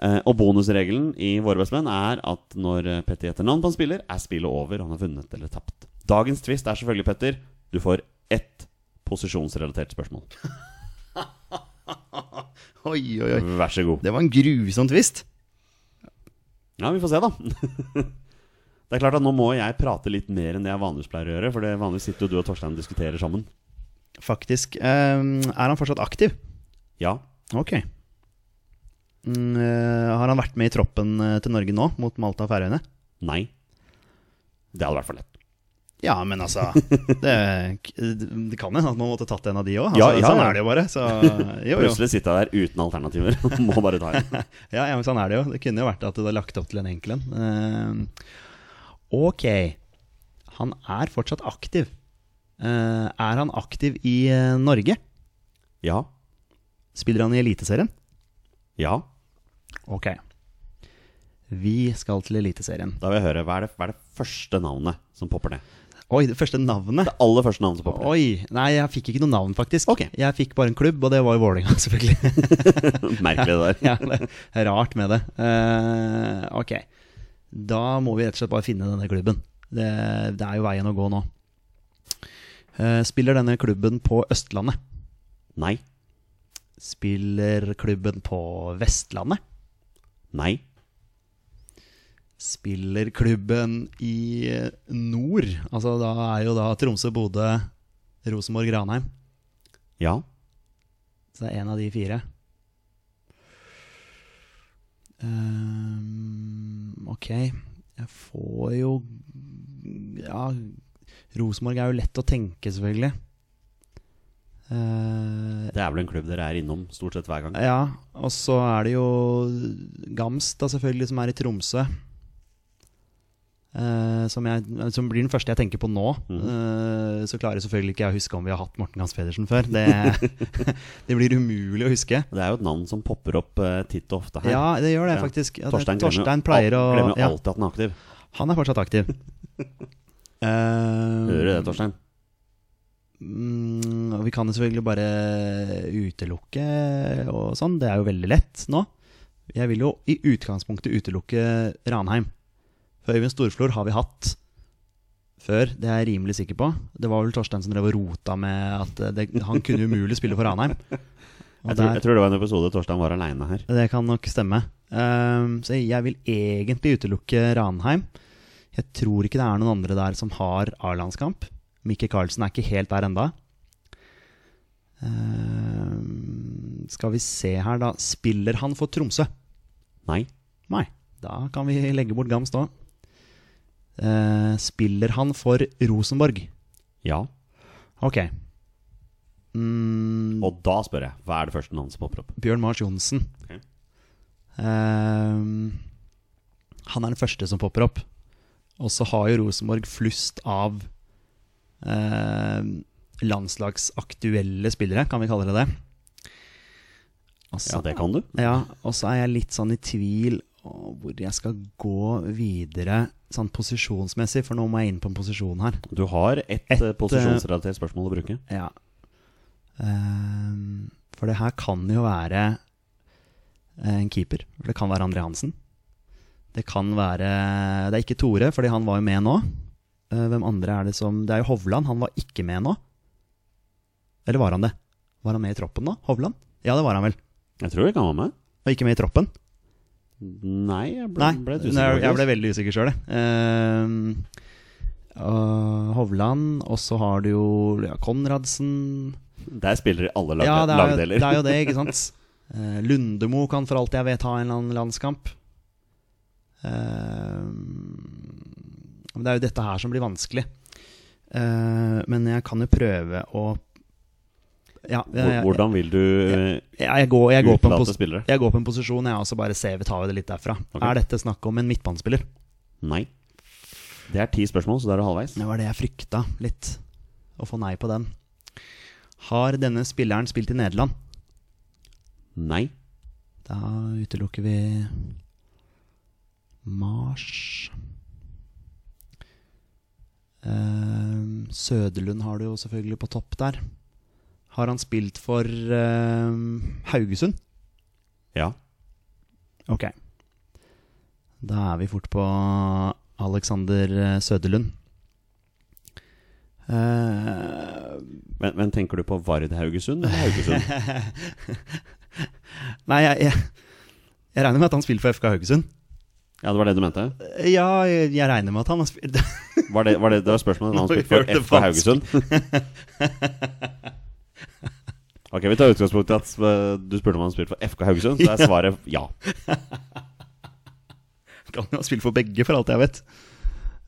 Speaker 1: Eh, og bonusregelen i Våre bestemenn er at når eh, Petter gjetter navn på en spiller, er spillet over. Han har vunnet eller tapt. Dagens twist er selvfølgelig, Petter, du får ett posisjonsrelatert spørsmål.
Speaker 2: Oi, oi, oi.
Speaker 1: Vær så god.
Speaker 2: Det var en grusom twist.
Speaker 1: Ja, vi får se, da. Det er klart at Nå må jeg prate litt mer enn det jeg vanligvis pleier å gjøre. For det vanligvis sitter jo du og Torstein og diskuterer sammen.
Speaker 2: Faktisk. Eh, er han fortsatt aktiv?
Speaker 1: Ja,
Speaker 2: Ok. Mm, eh, har han vært med i troppen eh, til Norge nå, mot Malta og Færøyene?
Speaker 1: Nei. Det hadde vært for lett.
Speaker 2: Ja, men altså Det, det kan hende at man måtte tatt en av de òg. Altså,
Speaker 1: Ja, ja,
Speaker 2: Sånn
Speaker 1: ja.
Speaker 2: er det jo bare. Så, jo, jo.
Speaker 1: Plutselig sitter jeg der uten alternativer. Må bare ta en.
Speaker 2: Ja, ja, men sånn er det jo. Det kunne jo vært at du hadde lagt opp til en enkel en. Eh, ok. Han er fortsatt aktiv. Eh, er han aktiv i eh, Norge?
Speaker 1: Ja.
Speaker 2: Spiller han i Eliteserien?
Speaker 1: Ja.
Speaker 2: Ok. Vi skal til Eliteserien.
Speaker 1: Da vil jeg høre. Hva er det, hva er det første navnet som popper ned?
Speaker 2: Oi, det første navnet.
Speaker 1: Det aller første navnet som popper ned.
Speaker 2: Oi, Nei, jeg fikk ikke noe navn, faktisk.
Speaker 1: Ok.
Speaker 2: Jeg fikk bare en klubb, og det var jo Vålerenga, selvfølgelig.
Speaker 1: Merkelig det der.
Speaker 2: ja, det er rart med det. Eh, ok. Da må vi rett og slett bare finne denne klubben. Det, det er jo veien å gå nå. Eh, spiller denne klubben på Østlandet?
Speaker 1: Nei.
Speaker 2: Spiller klubben på Vestlandet?
Speaker 1: Nei.
Speaker 2: Spiller klubben i eh, nord? Altså, da er jo da Tromsø, Bodø, Rosenborg, Granheim.
Speaker 1: Ja.
Speaker 2: Så det er en av de fire. Ehm, ok. Jeg får jo Ja, Rosenborg er jo lett å tenke, selvfølgelig. Eh,
Speaker 1: Det er vel en klubb dere er innom stort sett hver gang.
Speaker 2: ja, og så er det jo Gamst, da, selvfølgelig, som er i Tromsø. Eh, som, jeg, som blir den første jeg tenker på nå.
Speaker 1: Mhm.
Speaker 2: Eh, så klarer selvfølgelig ikke jeg å huske om vi har hatt Morten Gans Pedersen før. Det, det blir umulig å huske.
Speaker 1: Det er jo et navn som popper opp eh, titt og ofte her.
Speaker 2: Ja, det gjør det
Speaker 1: Ja.
Speaker 2: faktisk. Ja, det-
Speaker 1: Torstein,
Speaker 2: Torstein
Speaker 1: glemmer,
Speaker 2: pleier
Speaker 1: jo al-
Speaker 2: å
Speaker 1: glemmer jo
Speaker 2: ja,
Speaker 1: alltid at han er aktiv.
Speaker 2: Han er fortsatt aktiv.
Speaker 1: Hører du det,
Speaker 2: Eh,
Speaker 1: Torstein?
Speaker 2: mm, og vi kan jo selvfølgelig bare utelukke og sånn. Det er jo veldig lett nå. Jeg vil jo i utgangspunktet utelukke Ranheim. For Øyvind Storflor har vi hatt før, det er jeg rimelig sikker på. Det var vel Torstein som drev og rota med at eh, det, han kunne umulig spille for Ranheim. Og
Speaker 1: Jeg tror,
Speaker 2: der-
Speaker 1: jeg tror det var en episode Torstein var aleine her.
Speaker 2: Det kan nok stemme. Ehm, så jeg vil egentlig utelukke Ranheim. Jeg tror ikke det er noen andre der som har A-landskamp. Mikke Karlsen er ikke helt der enda. Ehm, skal vi se her, da. Spiller han for Tromsø?
Speaker 1: Nei.
Speaker 2: Nei. Da kan vi legge bort Ehm, Gams da. Eh, spiller han for Rosenborg?
Speaker 1: Ja.
Speaker 2: Ok. Mm,
Speaker 1: Og da spør jeg, hva er det første navnet som popper opp?
Speaker 2: Bjørn Mars Johnsen.
Speaker 1: Ok.
Speaker 2: Ehm, han er den første som popper opp. Og så har jo Rosenborg flust av ehm, landslagsaktuelle spillere, kan vi kalle det det.
Speaker 1: Ja,
Speaker 2: Altså,
Speaker 1: det kan du.
Speaker 2: ja, og så er jeg litt sånn i tvil om hvor jeg skal gå videre sånn posisjonsmessig, for nå må jeg inn på en posisjon her.
Speaker 1: Du har ett
Speaker 2: Et,
Speaker 1: et,
Speaker 2: eh,
Speaker 1: posisjonsrelatert spørsmål å bruke.
Speaker 2: Ja. Ehm, for det her kan jo være eh, en keeper. For det kan være André Hansen. Det kan være Det er ikke Tore, fordi han var jo med nå. Eh, hvem andre er det som Det er jo Hovland. Han var ikke med nå. Eller var han det? Var han med i troppen nå? Hovland? Ja, det var han vel.
Speaker 1: Jeg tror det kan være med.
Speaker 2: Og ikke med i troppen.
Speaker 1: Nei, jeg ble,
Speaker 2: Nei,
Speaker 1: ble litt
Speaker 2: nei, jeg,
Speaker 1: usikker.
Speaker 2: jeg ble veldig usikker sjøl, jeg. Ehm, og Hovland, og så har du jo ja, Konradsen.
Speaker 1: Der spiller i alle lag,
Speaker 2: ja, det er, jo-
Speaker 1: lagdeler.
Speaker 2: Det er jo det, ikke sant. Eh, Lundemo kan for alt jeg vet ha en eller annen landskamp. Eh, men det er jo dette her som blir vanskelig. Eh, men jeg kan jo prøve å Ja, jeg,
Speaker 1: Hvor-
Speaker 2: jeg,
Speaker 1: Hvordan vil du eh,
Speaker 2: jeg, jeg, går, jeg, går på en
Speaker 1: utelate
Speaker 2: pos-
Speaker 1: spillere?
Speaker 2: jeg går på en posisjon, jeg, og så bare ser vi tar vi det litt derfra.
Speaker 1: Ok.
Speaker 2: Er dette snakk om en midtbanespiller?
Speaker 1: Nei. Det er ti spørsmål, så da er du halvveis.
Speaker 2: Det var det jeg frykta litt. Å få nei på den. Har denne spilleren spilt i Nederland?
Speaker 1: Nei.
Speaker 2: Da utelukker vi Mars. Ehm, Søderlund har du jo selvfølgelig på topp der. Har han spilt for ehm, Haugesund?
Speaker 1: Ja.
Speaker 2: Ok. Da er vi fort på Alexander eh, Søderlund. Eh,
Speaker 1: Men, men tenker du på Vard Haugesund eller Haugesund?
Speaker 2: nei, jeg, jeg, jeg regner med at han spiller for FK Haugesund.
Speaker 1: Ja, det var det du mente?
Speaker 2: Ja, jeg, jeg regner med at han har spilt
Speaker 1: Var det, var det, det var spørsmålet om han
Speaker 2: Nå
Speaker 1: spilte
Speaker 2: gjør
Speaker 1: for
Speaker 2: det
Speaker 1: FK Haugesund? Ok, vi tar utgangspunkt i at eh, du spurte om han spilte for FK Haugesund. Så er svaret ja.
Speaker 2: Kan jo ha spilt for begge, for alt jeg vet.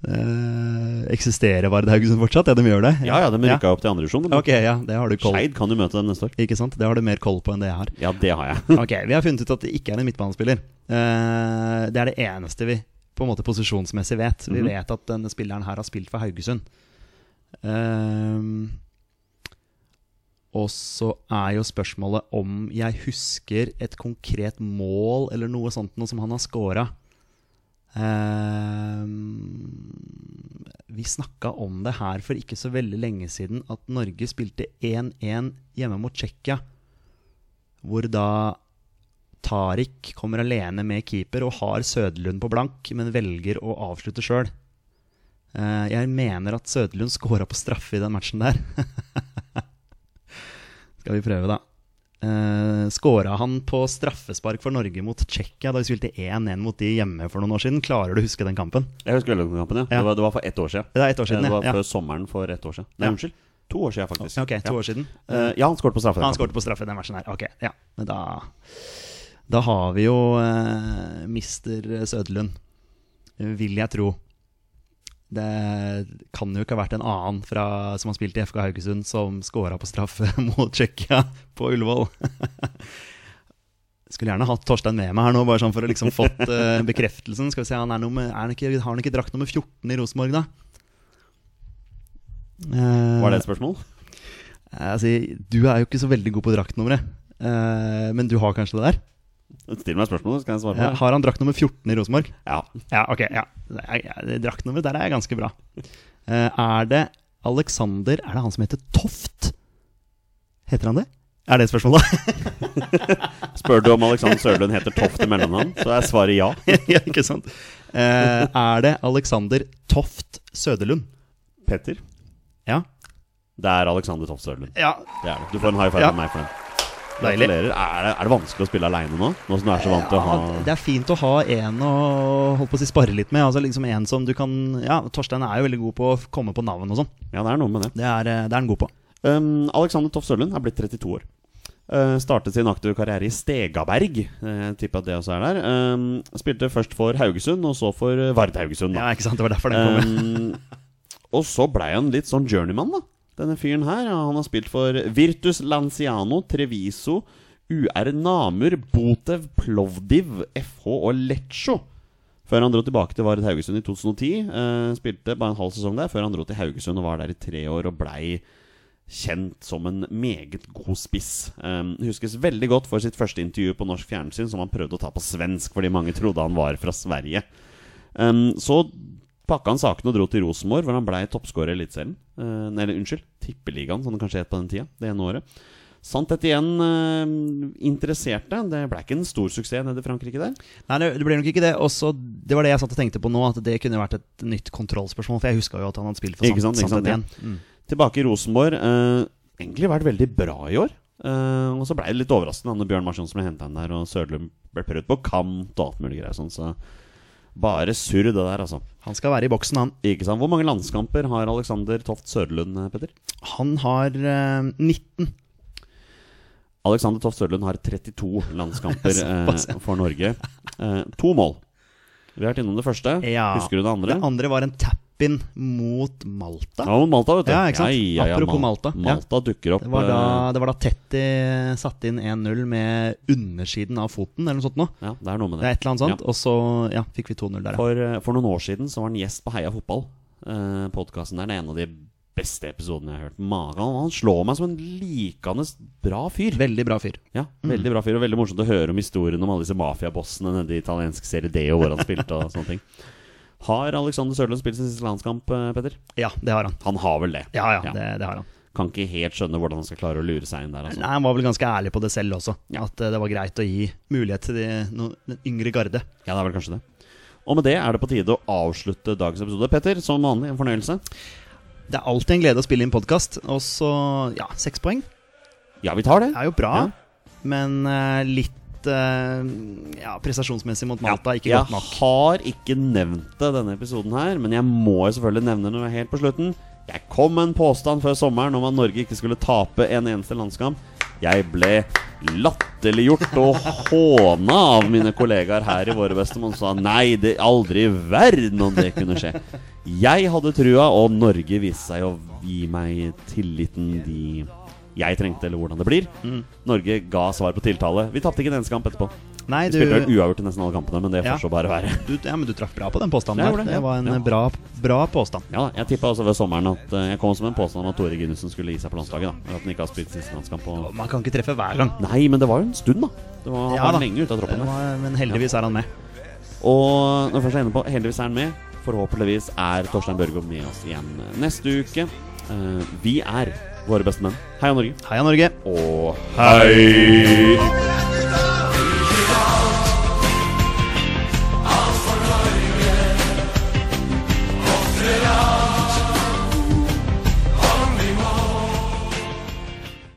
Speaker 2: Eh, eksisterer Vard Haugesund fortsatt? Ja, de gjør det?
Speaker 1: Ja ja, de rykka opp til andre divisjon.
Speaker 2: Ok, ja, det har du koll
Speaker 1: Skeid kan jo møte dem neste år.
Speaker 2: Ikke sant? Det har du mer koll på enn det jeg har.
Speaker 1: Ja, det har jeg.
Speaker 2: Ok, Vi har funnet ut at det ikke er en midtbanespiller. Eh, det er det eneste vi på en måte posisjonsmessig vet. Vi
Speaker 1: Mhm.
Speaker 2: vet at denne spilleren her har spilt for Haugesund. Eh, og så er jo spørsmålet om jeg husker et konkret mål eller noe sånt noe som han har scora. Ehm, vi snakka om det her for ikke så veldig lenge siden, at Norge spilte 1-1 hjemme mot Tsjekkia hvor da Tariq kommer alene med keeper og har Søderlund på blank, men velger å avslutte sjøl. Eh, Jeg mener at Søderlund scora på straffe i den matchen der. Skal vi prøve, da. Eh, Scora han på straffespark for Norge mot Tsjekkia da vi spilte 1-1 mot de hjemme for noen år siden? Klarer du å huske den kampen?
Speaker 1: Jeg husker veldig godt den kampen. Ja.
Speaker 2: Ja.
Speaker 1: Det, var, det var for ett år siden.
Speaker 2: Det er ett år siden,
Speaker 1: det
Speaker 2: ja.
Speaker 1: var
Speaker 2: ja.
Speaker 1: før sommeren for ett år siden. Nei,
Speaker 2: Ja.
Speaker 1: unnskyld. To år siden, faktisk.
Speaker 2: Ok, to år siden.
Speaker 1: Ja, Eh, ja han skåret på straffe.
Speaker 2: Han skåret på straffe i den matchen her. Ok, ja. Men da, da har vi jo eh, mister Søderlund, vil jeg tro. Det kan jo ikke ha vært en annen fra, som har spilt i FK Haugesund, som scora på straffe mot Tsjekkia på Ullevål. Skulle gjerne hatt Torstein med meg her nå, bare sånn for å liksom fått eh, bekreftelsen. Skal vi se, han er nummer, er han ikke, Har han ikke drakt nummer 14 i Rosenborg, da? Eh,
Speaker 1: Var det et spørsmål?
Speaker 2: Altså, du er jo ikke så veldig god på draktnummeret, eh, men du har kanskje det der?
Speaker 1: Still meg spørsmål, så kan jeg svare på
Speaker 2: Ja, har han drakt nummer 14 i Rosenborg?
Speaker 1: det. Ja.
Speaker 2: Ja, ok. ja Det er- ja, det Draktnummeret der er ganske bra. Eh, Er det Alexander Er det han som heter Toft? Heter han det? Er det et spørsmål, da?
Speaker 1: Spør du om Alexander Sørlund heter Toft i mellomnavn, så er svaret ja.
Speaker 2: ja, ikke sant? Eh, Er det Alexander Toft Søderlund?
Speaker 1: Petter.
Speaker 2: Ja.
Speaker 1: Det er Alexander Toft Sørlund.
Speaker 2: ja
Speaker 1: Det er det. Du får en high five
Speaker 2: Ja.
Speaker 1: av meg for den.
Speaker 2: Deilig.
Speaker 1: Gratulerer. Er det, er det vanskelig å spille aleine nå? Nå som du er så vant til å ha
Speaker 2: Ja, det er fint å ha en å holdt på å si, spare litt med. Altså liksom en som du kan Ja, Torstein er jo veldig god på å komme på navn og sånn.
Speaker 1: Ja, det er noe med det.
Speaker 2: Det er, eh, det er han god på.
Speaker 1: Um, Alexander Toff Sørlund er blitt 32 år. Uh, startet sin aktive karriere i Stegaberg. Uh, jeg tipper at det også er der. Um, spilte først for Haugesund, og så for uh, Vard Haugesund.
Speaker 2: Ja,
Speaker 1: Da.
Speaker 2: Eh, ikke sant? Det var derfor den kom.
Speaker 1: um, og så blei han litt sånn journeyman, da. Denne fyren her, ja, han har spilt for Virtus Lanciano, Treviso, UR Namur, Botev, Plovdiv, FH og Lecco. Før han dro tilbake til Vard Haugesund i 2010. Eh, spilte bare en halv sesong der, før han dro til Haugesund og var der i tre år og blei kjent som en meget god spiss. Um, huskes veldig godt for sitt første intervju på norsk fjernsyn, som han prøvde å ta på svensk fordi mange trodde han var fra Sverige. Um, så pakka han sakene og dro til Rosenborg, hvor han blei toppskårer i Eliteserien. Uh, nei, eller unnskyld, Tippeligaen, som det kanskje het på den tida. Det ene året. Sant dette igjen eh, interesserte. Det ble ikke en stor suksess nede i Frankrike der.
Speaker 2: Nei, det det ble nok ikke det. Også, det var det jeg satt og tenkte på nå, at det kunne vært et nytt kontrollspørsmål. For jeg huska jo at han hadde spilt for
Speaker 1: Ikke sant,
Speaker 2: Sant-
Speaker 1: ikke sant,
Speaker 2: Santet
Speaker 1: ja.
Speaker 2: igjen. Mm.
Speaker 1: Tilbake i Rosenborg. eh, egentlig vært veldig bra i år. Eh, og så blei det litt overraskende da, når Bjørn Marsjon som ble henta inn der, og Sørlund ble prøvd på kant og alt mulig greier sånn, så bare surr det der, altså.
Speaker 2: Han skal være i boksen, han.
Speaker 1: Ikke sant? Hvor mange landskamper har Alexander Toft Sørlund, eh, Petter?
Speaker 2: Han har eh, 19.
Speaker 1: Alexander Toft Sørlund har 32 landskamper
Speaker 2: Såpass, ja.
Speaker 1: eh, for Norge. Eh, to mål. Vi har vært innom det første.
Speaker 2: Ja.
Speaker 1: Husker du det andre?
Speaker 2: Det andre var en tap-in mot Malta.
Speaker 1: Ja, men Malta, vet du.
Speaker 2: Ja, ikke sant?
Speaker 1: Ja, ja, ja,
Speaker 2: Apropos
Speaker 1: Mal-
Speaker 2: Malta. Ja.
Speaker 1: Malta dukker opp.
Speaker 2: Det var da,
Speaker 1: eh,
Speaker 2: det var da Tetti satte inn 1-0 med undersiden av foten, eller noe sånt noe.
Speaker 1: ja, det er noe med det.
Speaker 2: Det er et eller annet sånt.
Speaker 1: Ja.
Speaker 2: Og så ja, fikk vi 2-0 der, ja.
Speaker 1: For, eh, for noen år siden så var han gjest på Heia fotball. Eh, podcasten der. Det er en av de beste episodene jeg har hørt. Magan han slår meg som en likende bra fyr.
Speaker 2: Veldig bra fyr.
Speaker 1: Ja, Veldig
Speaker 2: Mm.
Speaker 1: bra fyr, og veldig morsomt å høre om historien om alle disse mafiabossene nede i italiensk serie D, og hvor han spilte og sånne ting. Har Alexander Sørlund spilt sin siste landskamp, eh, Petter?
Speaker 2: Ja, det har han.
Speaker 1: Han har vel det.
Speaker 2: Ja, ja,
Speaker 1: Ja.
Speaker 2: Det, det har han.
Speaker 1: Kan ikke helt skjønne hvordan han skal klare å lure seg inn der, altså.
Speaker 2: Nei, Han var vel ganske ærlig på det selv også,
Speaker 1: Ja.
Speaker 2: at eh, det var greit å gi mulighet til de, no, den yngre garde.
Speaker 1: Ja, det er vel kanskje det. Og med det er det på tide å avslutte dagens episode. Petter, som vanlig, en fornøyelse.
Speaker 2: Det er alltid en glede å spille inn podkast. Og så, ja, seks poeng
Speaker 1: Ja, vi tar det.
Speaker 2: er jo bra, men eh, litt eh, ja, prestasjonsmessig mot Malta ikke
Speaker 1: jeg
Speaker 2: godt nok.
Speaker 1: har ikke nevnt det denne episoden her, men jeg må jo selvfølgelig nevne det helt på slutten. Jeg kom med en påstand før sommeren om at Norge ikke skulle tape en eneste landskamp. Jeg ble latterliggjort og håna av mine kollegaer her i Våre bestemann sa nei, det er aldri i verden om det kunne skje. Jeg hadde trua, og Norge viste seg å gi meg tilliten de jeg trengte, eller hvordan det blir.
Speaker 2: Mm.
Speaker 1: Norge ga svar på tiltale. Vi tapte ikke en eneste kamp etterpå.
Speaker 2: Nei,
Speaker 1: Vi
Speaker 2: du,
Speaker 1: spilte vel uavgjort i nesten alle kampene, men det får
Speaker 2: Ja.
Speaker 1: så bare være.
Speaker 2: du, ja, men du traff bra på den påstanden.
Speaker 1: Jeg
Speaker 2: der.
Speaker 1: gjorde det,
Speaker 2: Det
Speaker 1: ja.
Speaker 2: var en
Speaker 1: Ja.
Speaker 2: eh, bra, bra påstand.
Speaker 1: Ja, da, Jeg tippa også ved sommeren at eh, jeg kom som en påstand om at Tore Ginussen skulle gi seg på landslaget. da At han ikke har spilt siste landskamp på
Speaker 2: Man kan ikke treffe hver gang.
Speaker 1: Nei, men det var jo en stund, da. Det var, han
Speaker 2: Ja,
Speaker 1: var
Speaker 2: da.
Speaker 1: lenge ute av
Speaker 2: Det
Speaker 1: troppen. da.
Speaker 2: var, men heldigvis er han med.
Speaker 1: Og når jeg først er inne på heldigvis er han med. Forhåpentligvis er Torstein Børgo med oss igjen neste uke. Eh, vi er våre beste menn. Heia Norge.
Speaker 2: Heia Norge!
Speaker 1: Og hei!